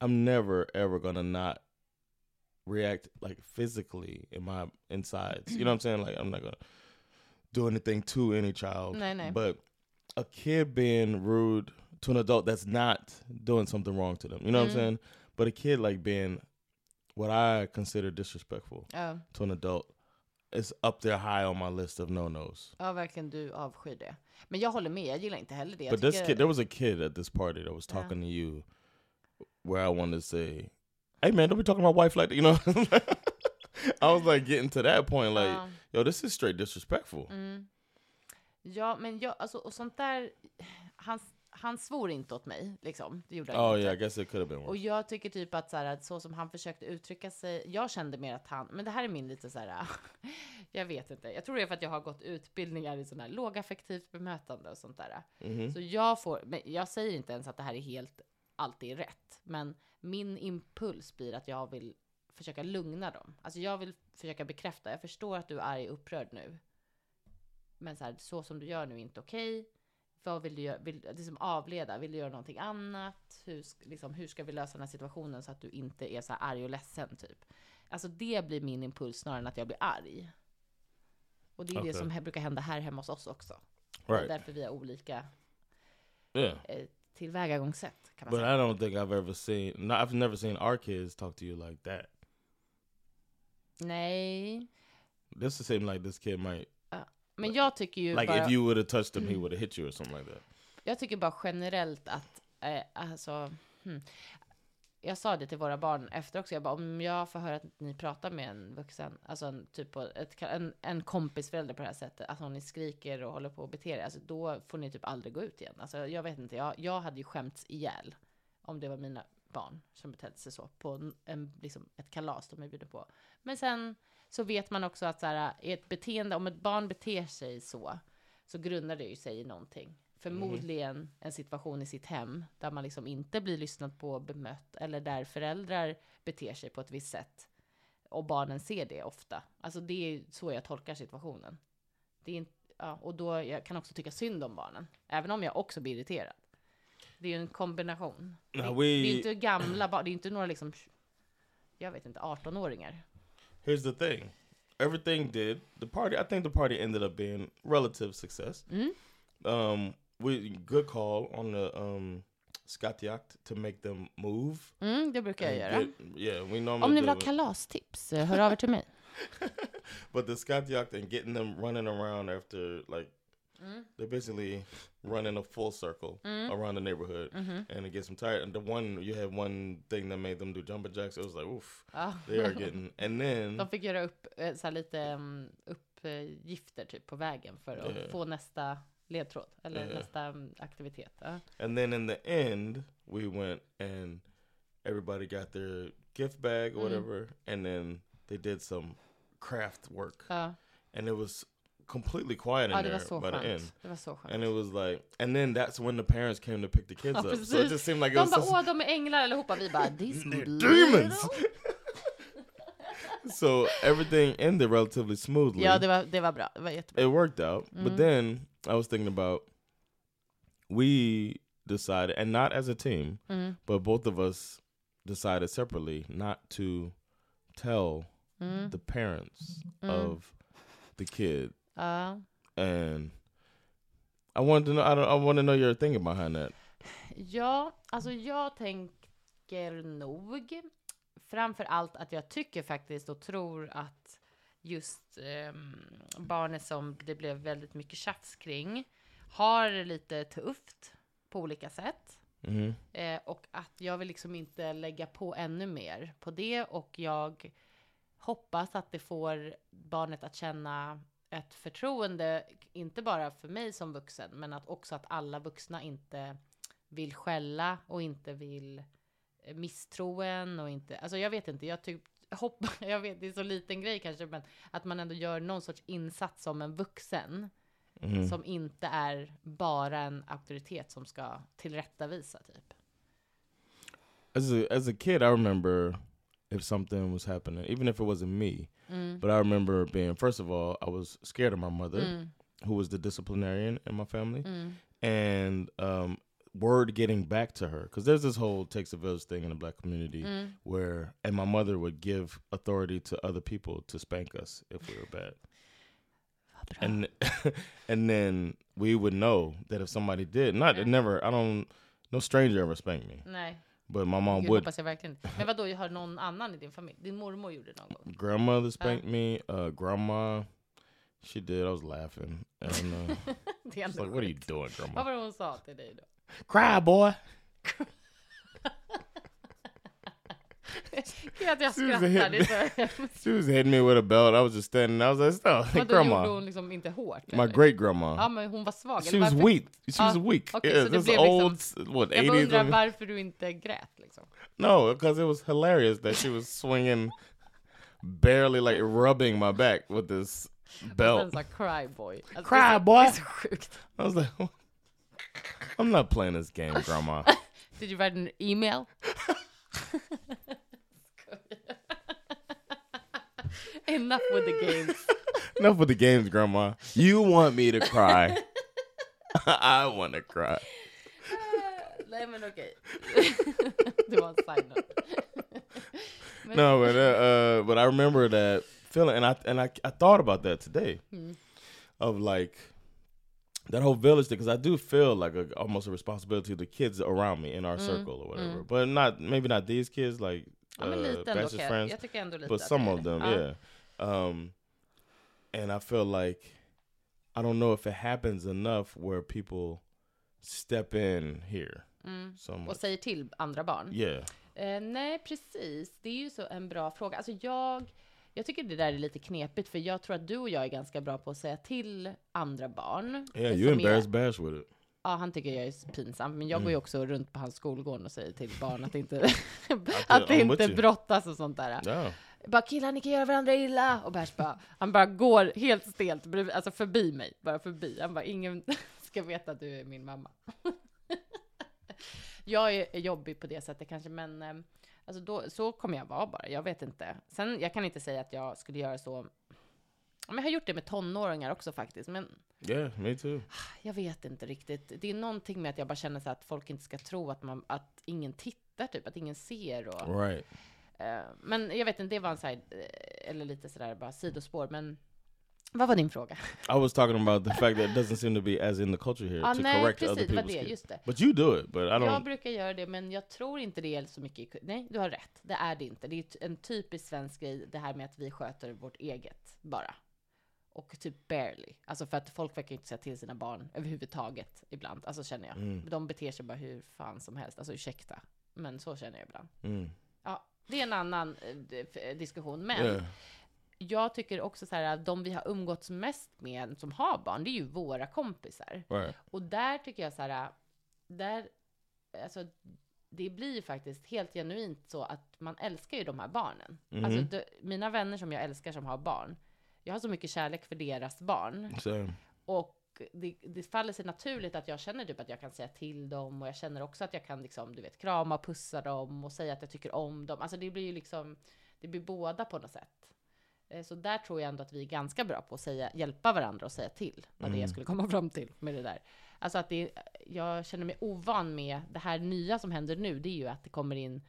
Speaker 2: I'm never ever gonna not react like physically in my insides. you know what I'm saying? Like I'm not gonna do anything to any child.
Speaker 1: No, no.
Speaker 2: But a kid being rude to an adult that's not doing something wrong to them. You know what I'm saying? But a kid like being what I consider disrespectful
Speaker 1: Ja.
Speaker 2: to an adult is up there high on my list of no nos.
Speaker 1: Ja, verkligen. Du avskyr det. Men jag håller med. Jag gillar inte heller det. Jag
Speaker 2: But this
Speaker 1: tycker-
Speaker 2: kid, there was a kid at this party that was talking to you, where I wanted to say, "Hey man, don't be talking to my wife like that," you know. I was like getting to that point, like, yo, this is straight disrespectful.
Speaker 1: Ja, men jag, alltså, och sånt där... Han, han svor inte åt mig, liksom. Det gjorde han
Speaker 2: Oh
Speaker 1: inte.
Speaker 2: yeah, I guess it could have been
Speaker 1: Och
Speaker 2: worse.
Speaker 1: jag tycker typ att så, här, att så som han försökte uttrycka sig, jag kände mer att han, men det här är min lite så här, jag vet inte, jag tror det är för att jag har gått utbildningar i sån här lågaffektivt bemötande och sånt där. Så jag får, men jag säger inte ens att det här är helt, alltid är rätt, men min impuls blir att jag vill försöka lugna dem. Alltså jag vill försöka bekräfta, jag förstår att du är arg och upprörd nu, men så här, så som du gör nu är inte okej. Vad vill du göra? Vill, liksom avleda? Vill du göra någonting annat? Hur, sk- liksom, hur ska vi lösa den här situationen så att du inte är så här arg och ledsen typ? Alltså det blir min impuls snarare än att jag blir arg. Och det är
Speaker 2: Okej.
Speaker 1: det som he- brukar hända här hemma hos oss också. Det är
Speaker 2: Right?
Speaker 1: därför vi har olika
Speaker 2: Yeah.
Speaker 1: eh, tillvägagångssätt kan man
Speaker 2: But
Speaker 1: säga.
Speaker 2: I don't think I've ever seen. No, I've never seen our kids talk to you like that.
Speaker 1: Nej.
Speaker 2: This seemed like this kid might.
Speaker 1: Men jag tycker ju
Speaker 2: Like
Speaker 1: bara...
Speaker 2: if you would have touched him, he would have hit you or something like that.
Speaker 1: Jag tycker bara generellt att, eh, alltså, hmm. jag sa det till våra barn efter också, jag bara om jag får höra att ni pratar med en vuxen, alltså en, typ på ett, ka- en, en kompisförälder på det här sättet, alltså om ni skriker och håller på och beter er, alltså då får ni typ aldrig gå ut igen. Alltså jag vet inte, jag, jag hade ju skämts ihjäl om det var mina barn som betedde sig så på en, en, liksom ett kalas de är bjudna på. Men sen så vet man också att så här, i ett beteende, om ett barn beter sig så, så grundar det ju sig i någonting. Förmodligen en situation i sitt hem där man liksom inte blir lyssnad på och bemött eller där föräldrar beter sig på ett visst sätt och barnen ser det ofta. Alltså det är ju så jag tolkar situationen. Det är inte, ja, och då jag kan också tycka synd om barnen, även om jag också blir irriterad. Det är ju en kombination.
Speaker 2: Now
Speaker 1: det,
Speaker 2: we-
Speaker 1: det är ju inte gamla barn, det är inte några liksom, jag vet inte, 18-åringar.
Speaker 2: Here's the thing. Everything did. The party I think the party ended up being relative success. Um we good call on the um skattjakt to make them move.
Speaker 1: Mm, det brukar jag göra.
Speaker 2: Get, yeah, we normally
Speaker 1: Om ni
Speaker 2: do
Speaker 1: vill ha
Speaker 2: it.
Speaker 1: kalastips, eh, hör av er till mig.
Speaker 2: but the skattjakt and getting them running around after like they're basically running a full circle around the neighborhood and it gets them tired. And the one you had one thing that made them do jumping jacks. It was like oof,
Speaker 1: Ja.
Speaker 2: they are getting. And then
Speaker 1: De fick göra upp eh, så här lite mm, uppgifter typ på vägen för att
Speaker 2: Ja.
Speaker 1: få nästa ledtråd eller
Speaker 2: Ja.
Speaker 1: nästa mm, aktivitet. Ja.
Speaker 2: and then in the end we went and everybody got their gift bag or whatever, and then they did some craft work
Speaker 1: Ja.
Speaker 2: and it was completely quiet in
Speaker 1: ja, det var
Speaker 2: there
Speaker 1: så
Speaker 2: by the end.
Speaker 1: skönt. Det var så
Speaker 2: And it
Speaker 1: skönt.
Speaker 2: was like, and then that's when the parents came to pick the kids
Speaker 1: Ja,
Speaker 2: up. So it
Speaker 1: precis.
Speaker 2: just seemed like it
Speaker 1: De
Speaker 2: was
Speaker 1: bara,
Speaker 2: just,
Speaker 1: åh, de är änglar allihopa. Vi bara, these
Speaker 2: They're
Speaker 1: little-"
Speaker 2: demons. so everything ended relatively smoothly.
Speaker 1: Ja, det var, det var bra. Det var jättebra.
Speaker 2: it worked out. But then I was thinking about we decided, and not as a team, but both of us decided separately not to tell the parents of the kid.
Speaker 1: Ja.
Speaker 2: And I wanted to know. I don't. I want to know your thinking behind that.
Speaker 1: Ja, alltså jag tänker nog framför allt att jag tycker faktiskt och tror att just ehm, barnet som det blev väldigt mycket tjafs kring har det lite tufft på olika sätt.
Speaker 2: Mm-hmm.
Speaker 1: Eh, och att jag vill liksom inte lägga på ännu mer på det och jag hoppas att det får barnet att känna ett förtroende, inte bara för mig som vuxen, men att också att alla vuxna inte vill skälla och inte vill eh, misstro en och inte, alltså jag vet inte, jag typ hopp, jag vet det är så liten grej kanske, men att man ändå gör någon sorts insats som en vuxen som inte är bara en auktoritet som ska tillrättavisa typ.
Speaker 2: as a as a kid, I remember if something was happening, even if it wasn't me. But I remember being first of all, I was scared of my mother, who was the disciplinarian in my family, and um, word getting back to her because there's this whole takes a village thing in the black community where, and my mother would give authority to other people to spank us if we were bad. And and then we would know that if somebody did not, it never. I don't. No stranger ever spanked me,
Speaker 1: Nej,
Speaker 2: but my mom
Speaker 1: gud,
Speaker 2: would.
Speaker 1: hoppas jag verkligen inte. Men vadå, jag har någon annan i din familj? Din mormor gjorde det någon gång?
Speaker 2: grandmother spanked me. Uh, grandma, she did. I was laughing. And uh,
Speaker 1: Det är
Speaker 2: I was
Speaker 1: ändå
Speaker 2: like, "What are you
Speaker 1: sjukt.
Speaker 2: doing,
Speaker 1: Vad
Speaker 2: grandma?
Speaker 1: var det hon sa till dig då?
Speaker 2: Cry, boy."
Speaker 1: Gud att jag
Speaker 2: Susan
Speaker 1: skrattar, det är
Speaker 2: hit
Speaker 1: så
Speaker 2: me. she was hitting me with a belt. I was just standing. there. I was like, "Stop,
Speaker 1: Vadå, gjorde
Speaker 2: grandma."
Speaker 1: hon liksom inte hårt?
Speaker 2: My
Speaker 1: eller?
Speaker 2: great grandma.
Speaker 1: Ja, men hon var svag.
Speaker 2: she
Speaker 1: eller
Speaker 2: was
Speaker 1: varför-
Speaker 2: weak. She was
Speaker 1: Ah,
Speaker 2: weak.
Speaker 1: okej,
Speaker 2: yeah,
Speaker 1: så det
Speaker 2: this
Speaker 1: blev
Speaker 2: old
Speaker 1: liksom...
Speaker 2: s- what
Speaker 1: Jag bara undrar
Speaker 2: 80s.
Speaker 1: varför du inte grät liksom.
Speaker 2: No, because it was hilarious that she was swinging, barely like rubbing my back with this
Speaker 1: Sen
Speaker 2: belt.
Speaker 1: sa cry boy. Alltså, det är
Speaker 2: Oh. Cry,
Speaker 1: så-
Speaker 2: boy.
Speaker 1: Det är så sjukt.
Speaker 2: I was like, "I'm not playing this game, grandma."
Speaker 1: Did you write an email? Enough with the games.
Speaker 2: Enough with the games, Grandma. You want me to cry. I want to cry.
Speaker 1: Nej men okej. det var en sign-up.
Speaker 2: No, but uh, uh, but I remember that feeling, and I and I, I thought about that today, of like that whole village thing, because I do feel like a, almost a responsibility to the kids around me in our circle or whatever, but not maybe not these kids like
Speaker 1: Ja men
Speaker 2: uh,
Speaker 1: lite ändå.
Speaker 2: Bachelor's
Speaker 1: kan Jag,
Speaker 2: friends,
Speaker 1: jag tycker ändå lite
Speaker 2: but
Speaker 1: att
Speaker 2: some
Speaker 1: det är det.
Speaker 2: of them,
Speaker 1: Ja.
Speaker 2: yeah. Um, and I feel like I don't know if it happens enough where people step in here. So
Speaker 1: Och
Speaker 2: much.
Speaker 1: säger till andra barn.
Speaker 2: Yeah,
Speaker 1: Eh, nej, precis. Det är ju så en bra fråga. Alltså jag, jag tycker det där är lite knepigt, för jag tror att du och jag är ganska bra på att säga till andra barn.
Speaker 2: yeah.
Speaker 1: eh,
Speaker 2: You
Speaker 1: som
Speaker 2: embarrass Mm.
Speaker 1: är-
Speaker 2: Bash with it.
Speaker 1: Ja, han tycker jag är pinsam, men jag går ju också runt på hans skolgård och säger till barn att inte, att
Speaker 2: I'm with
Speaker 1: inte
Speaker 2: you.
Speaker 1: brottas och sånt där.
Speaker 2: Yeah.
Speaker 1: Bara killar, ni kan göra varandra illa. Och Bärs bara, han bara går helt stelt, bredvid- alltså förbi mig, bara förbi. Han bara, ingen ska veta att du är min mamma. jag är är jobbig på det sättet kanske, men eh, alltså då, så kommer jag vara bara. Jag vet inte. Sen, jag kan inte säga att jag skulle göra så. Men jag har gjort det med tonåringar också faktiskt, men
Speaker 2: Yeah, me too.
Speaker 1: jag vet inte riktigt. Det är någonting med att jag bara känner så här att folk inte ska tro att, man, att ingen tittar, typ, att ingen ser. Och,
Speaker 2: Right.
Speaker 1: Eh, men jag vet inte, det var en så här, eh, eller lite sådär bara sidospår, men Vad var din fråga?
Speaker 2: I was talking about the fact that it doesn't seem to be as in the culture here
Speaker 1: Ah,
Speaker 2: to
Speaker 1: nej,
Speaker 2: correct
Speaker 1: precis,
Speaker 2: other
Speaker 1: det var
Speaker 2: people's
Speaker 1: det,
Speaker 2: kids.
Speaker 1: just det.
Speaker 2: But you do it, but I
Speaker 1: Jag
Speaker 2: don't.
Speaker 1: brukar göra det, men jag tror inte det är så mycket i ku- Nej, du har rätt. Det är det inte. Det är t- en typisk svensk grej, det här med att vi sköter vårt eget bara. Och typ barely. Alltså för att folk verkar ju inte säga till sina barn överhuvudtaget ibland. Alltså känner jag.
Speaker 2: Mm.
Speaker 1: De beter sig bara hur fan som helst. Alltså ursäkta. Men så känner jag ibland.
Speaker 2: Mm.
Speaker 1: Ja, det är en annan eh, d- f- diskussion. Men
Speaker 2: Yeah.
Speaker 1: jag tycker också så här att de vi har umgåtts mest med som har barn, det är ju våra kompisar.
Speaker 2: Right.
Speaker 1: Och där tycker jag så här, där, alltså det blir ju faktiskt helt genuint så att man älskar ju de här barnen. Alltså de, mina vänner som jag älskar som har barn, jag har så mycket kärlek för deras barn.
Speaker 2: Same.
Speaker 1: Och det, det faller sig naturligt att jag känner typ att jag kan säga till dem och jag känner också att jag kan liksom, du vet, krama och pussa dem och säga att jag tycker om dem. Alltså det blir ju liksom, det blir båda på något sätt. Eh, Så där tror jag ändå att vi är ganska bra på att säga, hjälpa varandra och säga till. Vad det jag skulle komma fram till med det där. Alltså att det, jag känner mig ovan med det här nya som händer nu, det är ju att det kommer in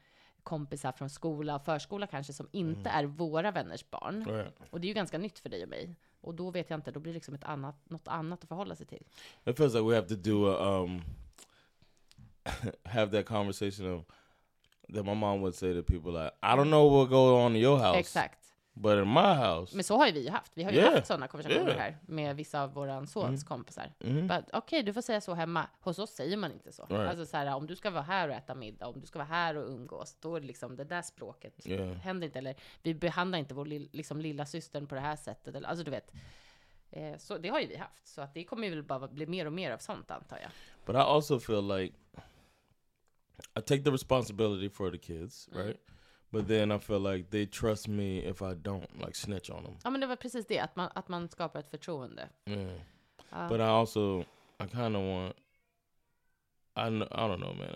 Speaker 1: kompisar från skola och förskola kanske som inte är våra vänners barn.
Speaker 2: Right.
Speaker 1: Och det är ju ganska nytt för dig och mig. Och då vet jag inte, då blir det liksom ett annat, något annat att förhålla sig till.
Speaker 2: It feels like we have to do a um have that conversation of that my mom would say to people like, I don't know what go on in your house.
Speaker 1: Exakt.
Speaker 2: But in my house
Speaker 1: Men så har ju vi ju haft. Vi har ju
Speaker 2: Yeah.
Speaker 1: haft sådana konversationer
Speaker 2: Yeah. Mm.
Speaker 1: här med vissa av våran sons kompisar. Bara, Okej, du får säga så hemma. Hos oss säger man inte så.
Speaker 2: Right.
Speaker 1: Alltså så här, om du ska vara här och äta middag, om du ska vara här och umgås, då är det liksom det där språket
Speaker 2: Yeah.
Speaker 1: händer inte. Eller vi behandlar inte vår lill- liksom, lilla systern på det här sättet. Eller, alltså du vet. Eh, Så det har ju vi haft. Så att det kommer ju väl bara bli mer och mer av sånt antar jag.
Speaker 2: But I also feel like I take the responsibility for the kids, right? But then I feel like they trust me if I don't like snitch on them.
Speaker 1: Ja men det var precis det, att man, att man skapar ett förtroende.
Speaker 2: Yeah. but I also I kind of want I kn- I don't know, man.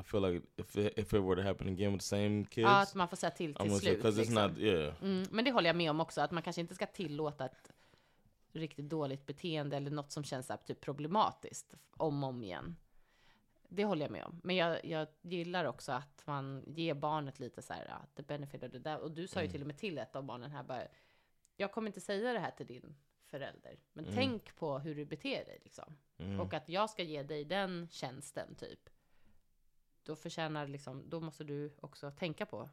Speaker 2: I feel like if it, if it were to happen again with the same kids,
Speaker 1: Ja, att man får säga till
Speaker 2: I'm
Speaker 1: till
Speaker 2: gonna say
Speaker 1: slut.
Speaker 2: because it's
Speaker 1: liksom.
Speaker 2: not yeah.
Speaker 1: mm, men det håller jag med om också, att man kanske inte ska tillåta ett riktigt dåligt beteende eller något som känns så här, typ problematiskt om och om igen. Det håller jag med om. Men jag, jag gillar också att man ger barnet lite så här, ja, the benefit of det där. Och du sa ju till och med till ett av barnen här bara, jag kommer inte säga det här till din förälder, men tänk på hur du beter dig liksom. Och att jag ska ge dig den tjänsten typ. Då förtjänar liksom, då måste du också tänka på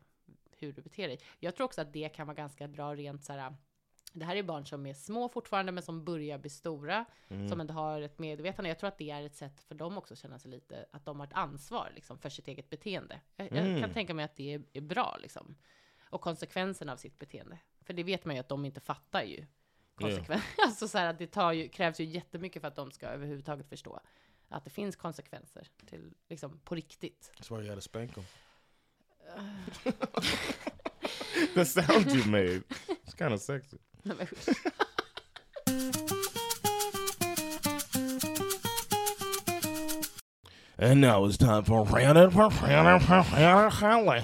Speaker 1: hur du beter dig. Jag tror också att det kan vara ganska bra rent så här. Det här är barn som är små fortfarande, men som börjar bli stora, som ändå har ett medvetande. Jag tror att det är ett sätt för dem också att känna sig lite, att de har ett ansvar liksom, för sitt eget beteende. Jag, jag kan tänka mig att det är, är bra liksom. Och konsekvenserna av sitt beteende. För det vet man ju att de inte fattar ju. Konsekven- alltså så här att det tar ju, krävs ju jättemycket för att de ska överhuvudtaget förstå att det finns konsekvenser till, liksom, på riktigt.
Speaker 2: That's why you gotta spank them. the sound you made, it's kind of sexy.
Speaker 1: Nej, men usch.
Speaker 2: And now it's time for random for random for random highlight.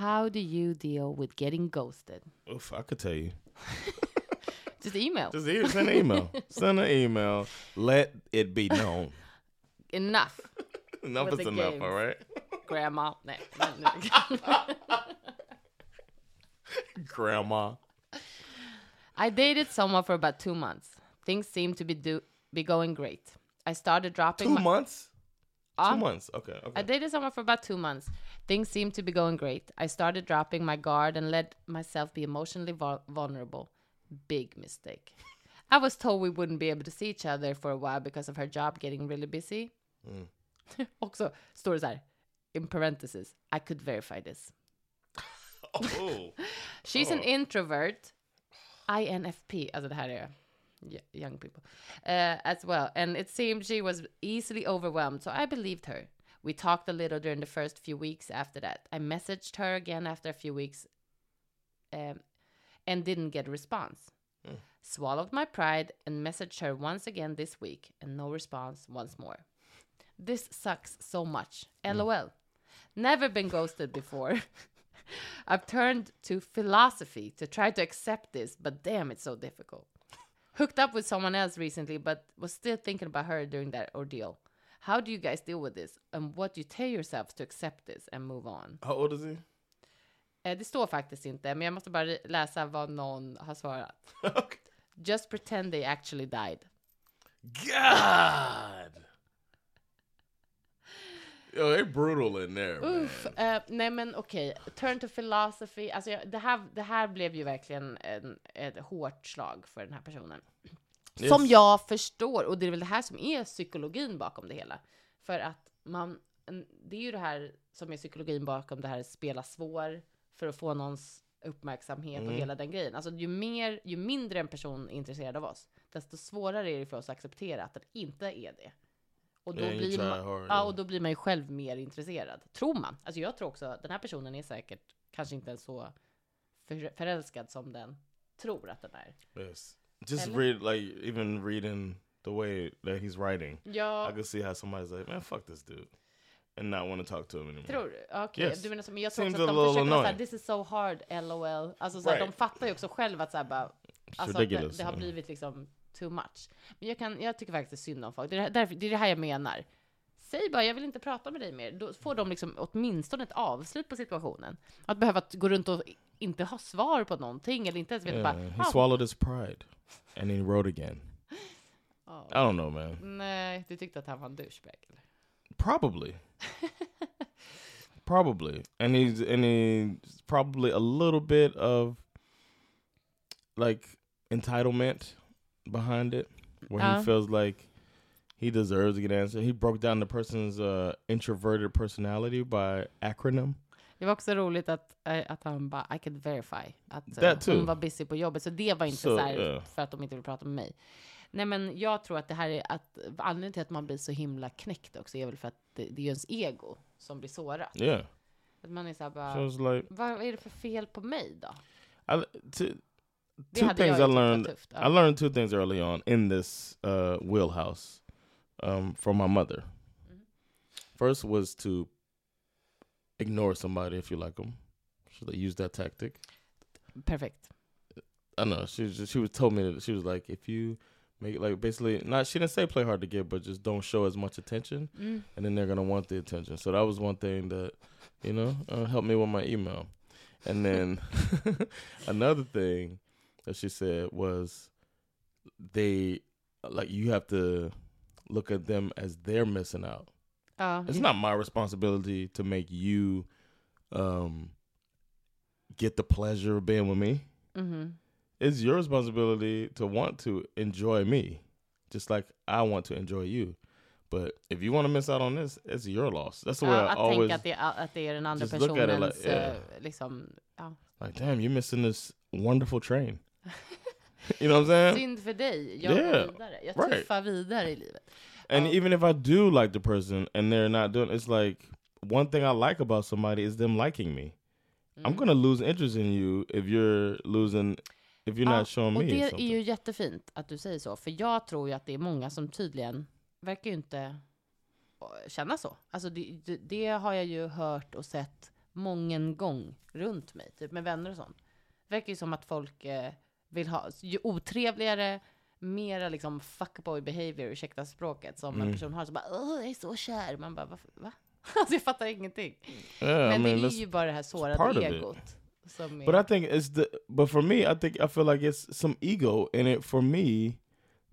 Speaker 1: How do you deal with getting ghosted?
Speaker 2: Oof, I could tell you.
Speaker 1: Just email.
Speaker 2: Just e- send an email. send an email. Let it be known. e-
Speaker 1: Enough,
Speaker 2: enough
Speaker 1: With
Speaker 2: is
Speaker 1: the
Speaker 2: enough.
Speaker 1: games.
Speaker 2: All right.
Speaker 1: grandma. Nej, men nu.
Speaker 2: Grandma.
Speaker 1: I dated someone for about two months. Things seemed to be do be going great. I started dropping
Speaker 2: Two
Speaker 1: my-
Speaker 2: months.
Speaker 1: Ah.
Speaker 2: Two months. Okay. Okay.
Speaker 1: I dated someone for about two months. Things seemed to be going great. I started dropping my guard and let myself be emotionally vul- vulnerable. Big mistake. I was told we wouldn't be able to see each other for a while because of her job getting really busy.
Speaker 2: Mm.
Speaker 1: Också står det så här, in parentheses, I could verify this.
Speaker 2: oh.
Speaker 1: She's an introvert. INFP, alltså det här är y- young people. Uh, as well. And it seemed she was easily overwhelmed, so I believed her. We talked a little during the first few weeks after that. I messaged her again after a few weeks um, and didn't get a response. Swallowed my pride and messaged her once again this week, and no response once more. This sucks so much. LOL. Never been ghosted before. I've turned to philosophy to try to accept this, but damn, it's so difficult. Hooked up with someone else recently, but was still thinking about her during that ordeal. How do you guys deal with this? And what do you tell yourselves to accept this and move on?
Speaker 2: How old is he?
Speaker 1: Eh, Eh, Det står faktiskt inte, men jag måste bara ri- läsa vad någon har svarat.
Speaker 2: Okay.
Speaker 1: Just pretend they actually died.
Speaker 2: God. Yo, they brutal in there.
Speaker 1: Uff,
Speaker 2: man.
Speaker 1: eh, nej men okej, turn to philosophy. Alltså jag, det, här, det här blev ju verkligen en, ett hårt slag för den här personen.
Speaker 2: Yes.
Speaker 1: Som jag förstår, och det är väl det här som är psykologin bakom det hela. För att man, en- det är ju det här som är psykologin bakom det här spela svår för att få någons uppmärksamhet och hela den grejen. Alltså ju, mer, ju mindre en person är intresserad av oss, desto svårare är det för oss att acceptera att den inte är det. Och då,
Speaker 2: Yeah, you
Speaker 1: blir
Speaker 2: try
Speaker 1: man,
Speaker 2: hard,
Speaker 1: ja,
Speaker 2: yeah.
Speaker 1: och då blir man ju själv mer intresserad, tror man. Alltså jag tror också att den här personen är säkert kanske inte ens så för, förälskad som den tror att den är.
Speaker 2: Yes. Just
Speaker 1: Eller?
Speaker 2: read, like, even reading the way that he's writing,
Speaker 1: Ja,
Speaker 2: I could see how somebody's like, man, fuck this dude, and not want to talk to him anymore.
Speaker 1: Tror du? Okej,
Speaker 2: Yes.
Speaker 1: du menar så, men jag tror
Speaker 2: Seems
Speaker 1: också att
Speaker 2: a
Speaker 1: de
Speaker 2: little
Speaker 1: försöker vara såhär,
Speaker 2: annoying.
Speaker 1: this is so hard, LOL. Alltså såhär, de
Speaker 2: Right.
Speaker 1: fattar ju också själva att såhär bara, alltså att det,
Speaker 2: ridiculous,
Speaker 1: det har
Speaker 2: yeah.
Speaker 1: blivit liksom too much. Men jag, kan, jag tycker faktiskt synd om folk, det är det här- därför, det, är det här jag menar. Säg bara, jag vill inte prata med dig mer. Då får de liksom åtminstone ett avslut på situationen. Att behöva att gå runt och inte ha svar på någonting eller inte ens veta
Speaker 2: Yeah,
Speaker 1: bara,
Speaker 2: he
Speaker 1: "Ah,
Speaker 2: swallowed his pride, and he wrote again. I don't know, man.
Speaker 1: nej, du tyckte att han var en douchebag. eller?"
Speaker 2: Probably. probably. And he's and he's probably a little bit of like entitlement behind it. Where
Speaker 1: Uh.
Speaker 2: he feels like he deserves to get an answer. He broke down the person's uh, introverted personality by acronym.
Speaker 1: Det var också roligt att, eh, att han bara, I can verify. Att eh,
Speaker 2: That too.
Speaker 1: hon var busy på jobbet, så det var inte
Speaker 2: So,
Speaker 1: så här
Speaker 2: yeah.
Speaker 1: för att de inte ville prata med mig. Nej men jag tror att det här är att anledningen till att man blir så himla knäckt också är väl för att det, det är ens ego som blir sårat.
Speaker 2: Yeah.
Speaker 1: Att man är så här
Speaker 2: So
Speaker 1: bara,
Speaker 2: it's like
Speaker 1: vad vad är det för fel på mig då?
Speaker 2: I, to,
Speaker 1: Det
Speaker 2: two
Speaker 1: hade jag
Speaker 2: things
Speaker 1: ju
Speaker 2: I
Speaker 1: tyckt var
Speaker 2: learned.
Speaker 1: tufft.
Speaker 2: I
Speaker 1: Ja.
Speaker 2: learned two things early on in this uh, wheelhouse um, from my mother. First was to ignore somebody if you like them. She like, used that tactic.
Speaker 1: Perfekt.
Speaker 2: I know she was just, she was told me that she was like if you make like basically not she didn't say play hard to get but just don't show as much attention
Speaker 1: Mm.
Speaker 2: and then they're gonna want the attention. So that was one thing that you know uh, helped me with my email. And then another thing that she said was they like you have to look at them as they're missing out.
Speaker 1: Ja,
Speaker 2: It's not my responsibility to make you um get the pleasure of being with me.
Speaker 1: mhm.
Speaker 2: It's your responsibility to want to enjoy me, just like I want to enjoy you. But if you want to miss out on this, it's your loss. That's the way
Speaker 1: ja,
Speaker 2: I
Speaker 1: att
Speaker 2: always
Speaker 1: tänka att det, är- att det är den andra
Speaker 2: just look at it like-
Speaker 1: personens,
Speaker 2: yeah.
Speaker 1: eh, liksom, ja.
Speaker 2: like. Damn, you're missing this wonderful train. you know what I'm saying?
Speaker 1: Synd för dig, jag går
Speaker 2: Yeah,
Speaker 1: vidare. Jag
Speaker 2: right.
Speaker 1: tuffar vidare i livet.
Speaker 2: And
Speaker 1: Oh.
Speaker 2: even if I do like the person and they're not doing it's like one thing I like about somebody is them liking me. I'm gonna lose interest in you if you're losing if you're
Speaker 1: Ja,
Speaker 2: not showing
Speaker 1: och
Speaker 2: me
Speaker 1: det
Speaker 2: something.
Speaker 1: är ju jättefint att du säger så, för jag tror ju att det är många som tydligen verkar ju inte eh, känna så. Alltså det, det, det har jag ju hört och sett många gång runt mig, typ med vänner och sånt. Det verkar ju som att folk eh, vill ha, ju otrevligare, mera liksom fuckboy behavior, ursäkta språket, som
Speaker 2: Mm.
Speaker 1: en person har som bara Åh, jag är så kär. Man bara, "Varför- va? Alltså jag fattar ingenting.
Speaker 2: yeah,
Speaker 1: Men
Speaker 2: I mean
Speaker 1: det är
Speaker 2: that's
Speaker 1: ju bara det här
Speaker 2: part of
Speaker 1: sårade
Speaker 2: it.
Speaker 1: egot. Som är,
Speaker 2: But I think it's the but for me, I think I feel like it's some ego in it for me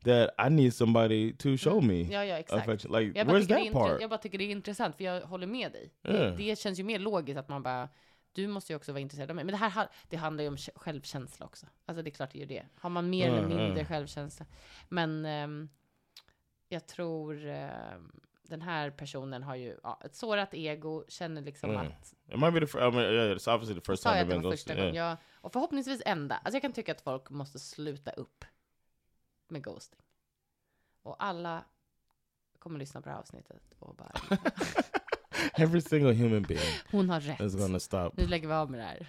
Speaker 2: that I need somebody to show me
Speaker 1: ja, ja, exakt.
Speaker 2: affection. Like
Speaker 1: Jag bara,
Speaker 2: where's
Speaker 1: tycker det är
Speaker 2: that
Speaker 1: intre-
Speaker 2: part?
Speaker 1: jag bara tycker det är intressant, för jag håller med dig.
Speaker 2: Yeah.
Speaker 1: Det, det känns ju mer logiskt att man bara, du måste ju också vara intresserad av mig. Men det här ha- det handlar ju om k- självkänsla också. Alltså det är klart det gör det. Har man mer eller
Speaker 2: Mm,
Speaker 1: mindre
Speaker 2: mm.
Speaker 1: självkänsla. Men ehm, jag tror ehm, den här personen har ju ja, ett sårat ego, känner liksom
Speaker 2: Mm.
Speaker 1: att
Speaker 2: It might be the first. I mean, yeah, it's obviously the
Speaker 1: då
Speaker 2: first
Speaker 1: sa
Speaker 2: time
Speaker 1: jag att
Speaker 2: I've
Speaker 1: det
Speaker 2: been
Speaker 1: var första
Speaker 2: ghosted.
Speaker 1: gången.
Speaker 2: Yeah.
Speaker 1: Jag, och förhoppningsvis enda. Alltså jag kan tycka att folk måste sluta upp med ghosting. Och alla kommer lyssna på det här avsnittet och bara,
Speaker 2: Every single human being
Speaker 1: hon har
Speaker 2: is
Speaker 1: rätt.
Speaker 2: gonna stop
Speaker 1: Nu lägger vi av med det här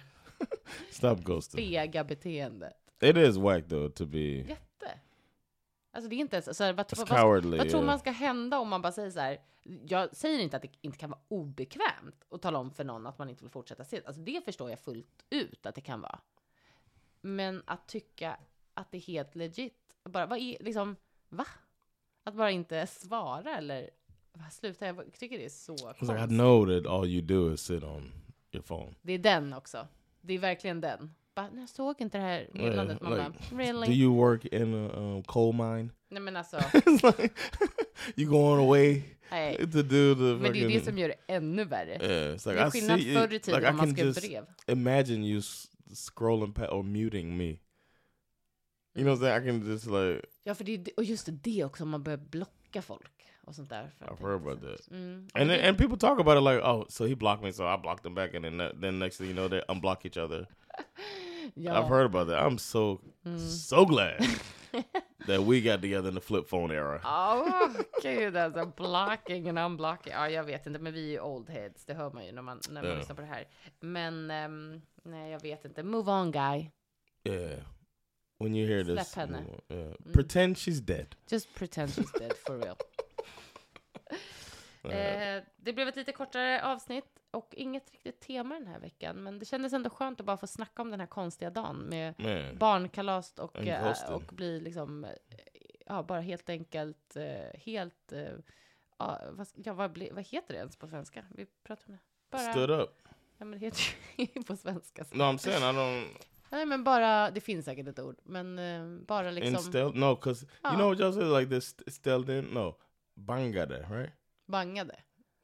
Speaker 2: stop ghosting.
Speaker 1: fega beteendet.
Speaker 2: It is whack though to be.
Speaker 1: Jätte. Alltså det är inte ens, alltså, vad,
Speaker 2: It's
Speaker 1: vad, vad,
Speaker 2: cowardly.
Speaker 1: vad tror
Speaker 2: yeah.
Speaker 1: man ska hända om man bara säger så här. Jag säger inte att det inte kan vara obekvämt att tala om för någon att man inte vill fortsätta ses. Alltså det förstår jag fullt ut att det kan vara. Men att tycka att det är helt legit, bara vad är liksom, va? Att bara inte svara eller va, sluta, jag tycker det är så
Speaker 2: Alltså, It's like I
Speaker 1: konstigt.
Speaker 2: know that all you do is sit on your phone.
Speaker 1: Det är den också. Det är verkligen den. Bara, "Nej, jag såg inte det här meddelandet. Man
Speaker 2: like,
Speaker 1: bara, really?
Speaker 2: Do you work in a um, coal mine?
Speaker 1: Nej men alltså.
Speaker 2: It's like, you going away
Speaker 1: Nej.
Speaker 2: to do the
Speaker 1: Men det är ju det som
Speaker 2: fucking...
Speaker 1: gör det ännu värre.
Speaker 2: Yeah, it's Eh, like,
Speaker 1: det är
Speaker 2: I
Speaker 1: skillnad
Speaker 2: see
Speaker 1: förr i
Speaker 2: you,
Speaker 1: tiden
Speaker 2: like, I
Speaker 1: om man
Speaker 2: can
Speaker 1: skrev
Speaker 2: just
Speaker 1: brev.
Speaker 2: imagine you s- scrolling pa- or muting me. You know what I'm saying? I can just like,
Speaker 1: Ja, för det är, och just det också, om man börjar blocka folk och sånt där. För att
Speaker 2: I've
Speaker 1: det
Speaker 2: heard
Speaker 1: inte är
Speaker 2: about
Speaker 1: så-
Speaker 2: that.
Speaker 1: Mm.
Speaker 2: And then,
Speaker 1: det-
Speaker 2: and people talk about it like, oh, so he blocked me, so I blocked him back, and then that- then next thing you know, they unblock each other.
Speaker 1: ja.
Speaker 2: I've heard about that. I'm so
Speaker 1: Hmm.
Speaker 2: so glad that we got together in the flip phone era.
Speaker 1: Uh, Åh, gud alltså. Blocking and unblocking. Ja, jag vet inte, men vi är ju old heads. Det hör man ju när man, när man
Speaker 2: Ja.
Speaker 1: lyssnar på det här. Men ehm, nej, jag vet inte. Move on guy.
Speaker 2: yeah, when you hear this,
Speaker 1: Slap henne.
Speaker 2: yeah. pretend she's dead.
Speaker 1: Just pretend she's dead for real. Eh, det blev ett lite kortare avsnitt och inget riktigt tema den här veckan. Men det kändes ändå skönt att bara få snacka om den här konstiga dagen med
Speaker 2: Man,
Speaker 1: barnkalas och,
Speaker 2: En
Speaker 1: eh,
Speaker 2: kosten.
Speaker 1: och bli liksom, eh, ja, bara helt enkelt, eh, helt, eh, ja, vad, ja, vad, bli, vad heter det ens på svenska? Vi pratar om det. Bara,
Speaker 2: stood up.
Speaker 1: ja, men det heter ju på svenska.
Speaker 2: No, I'm saying I don't
Speaker 1: Nej, men bara, det finns säkert ett ord, men eh, bara liksom
Speaker 2: instilled. No, because
Speaker 1: Ah.
Speaker 2: you know what y'all say like this instilled in. No, bangada, right?
Speaker 1: bangade.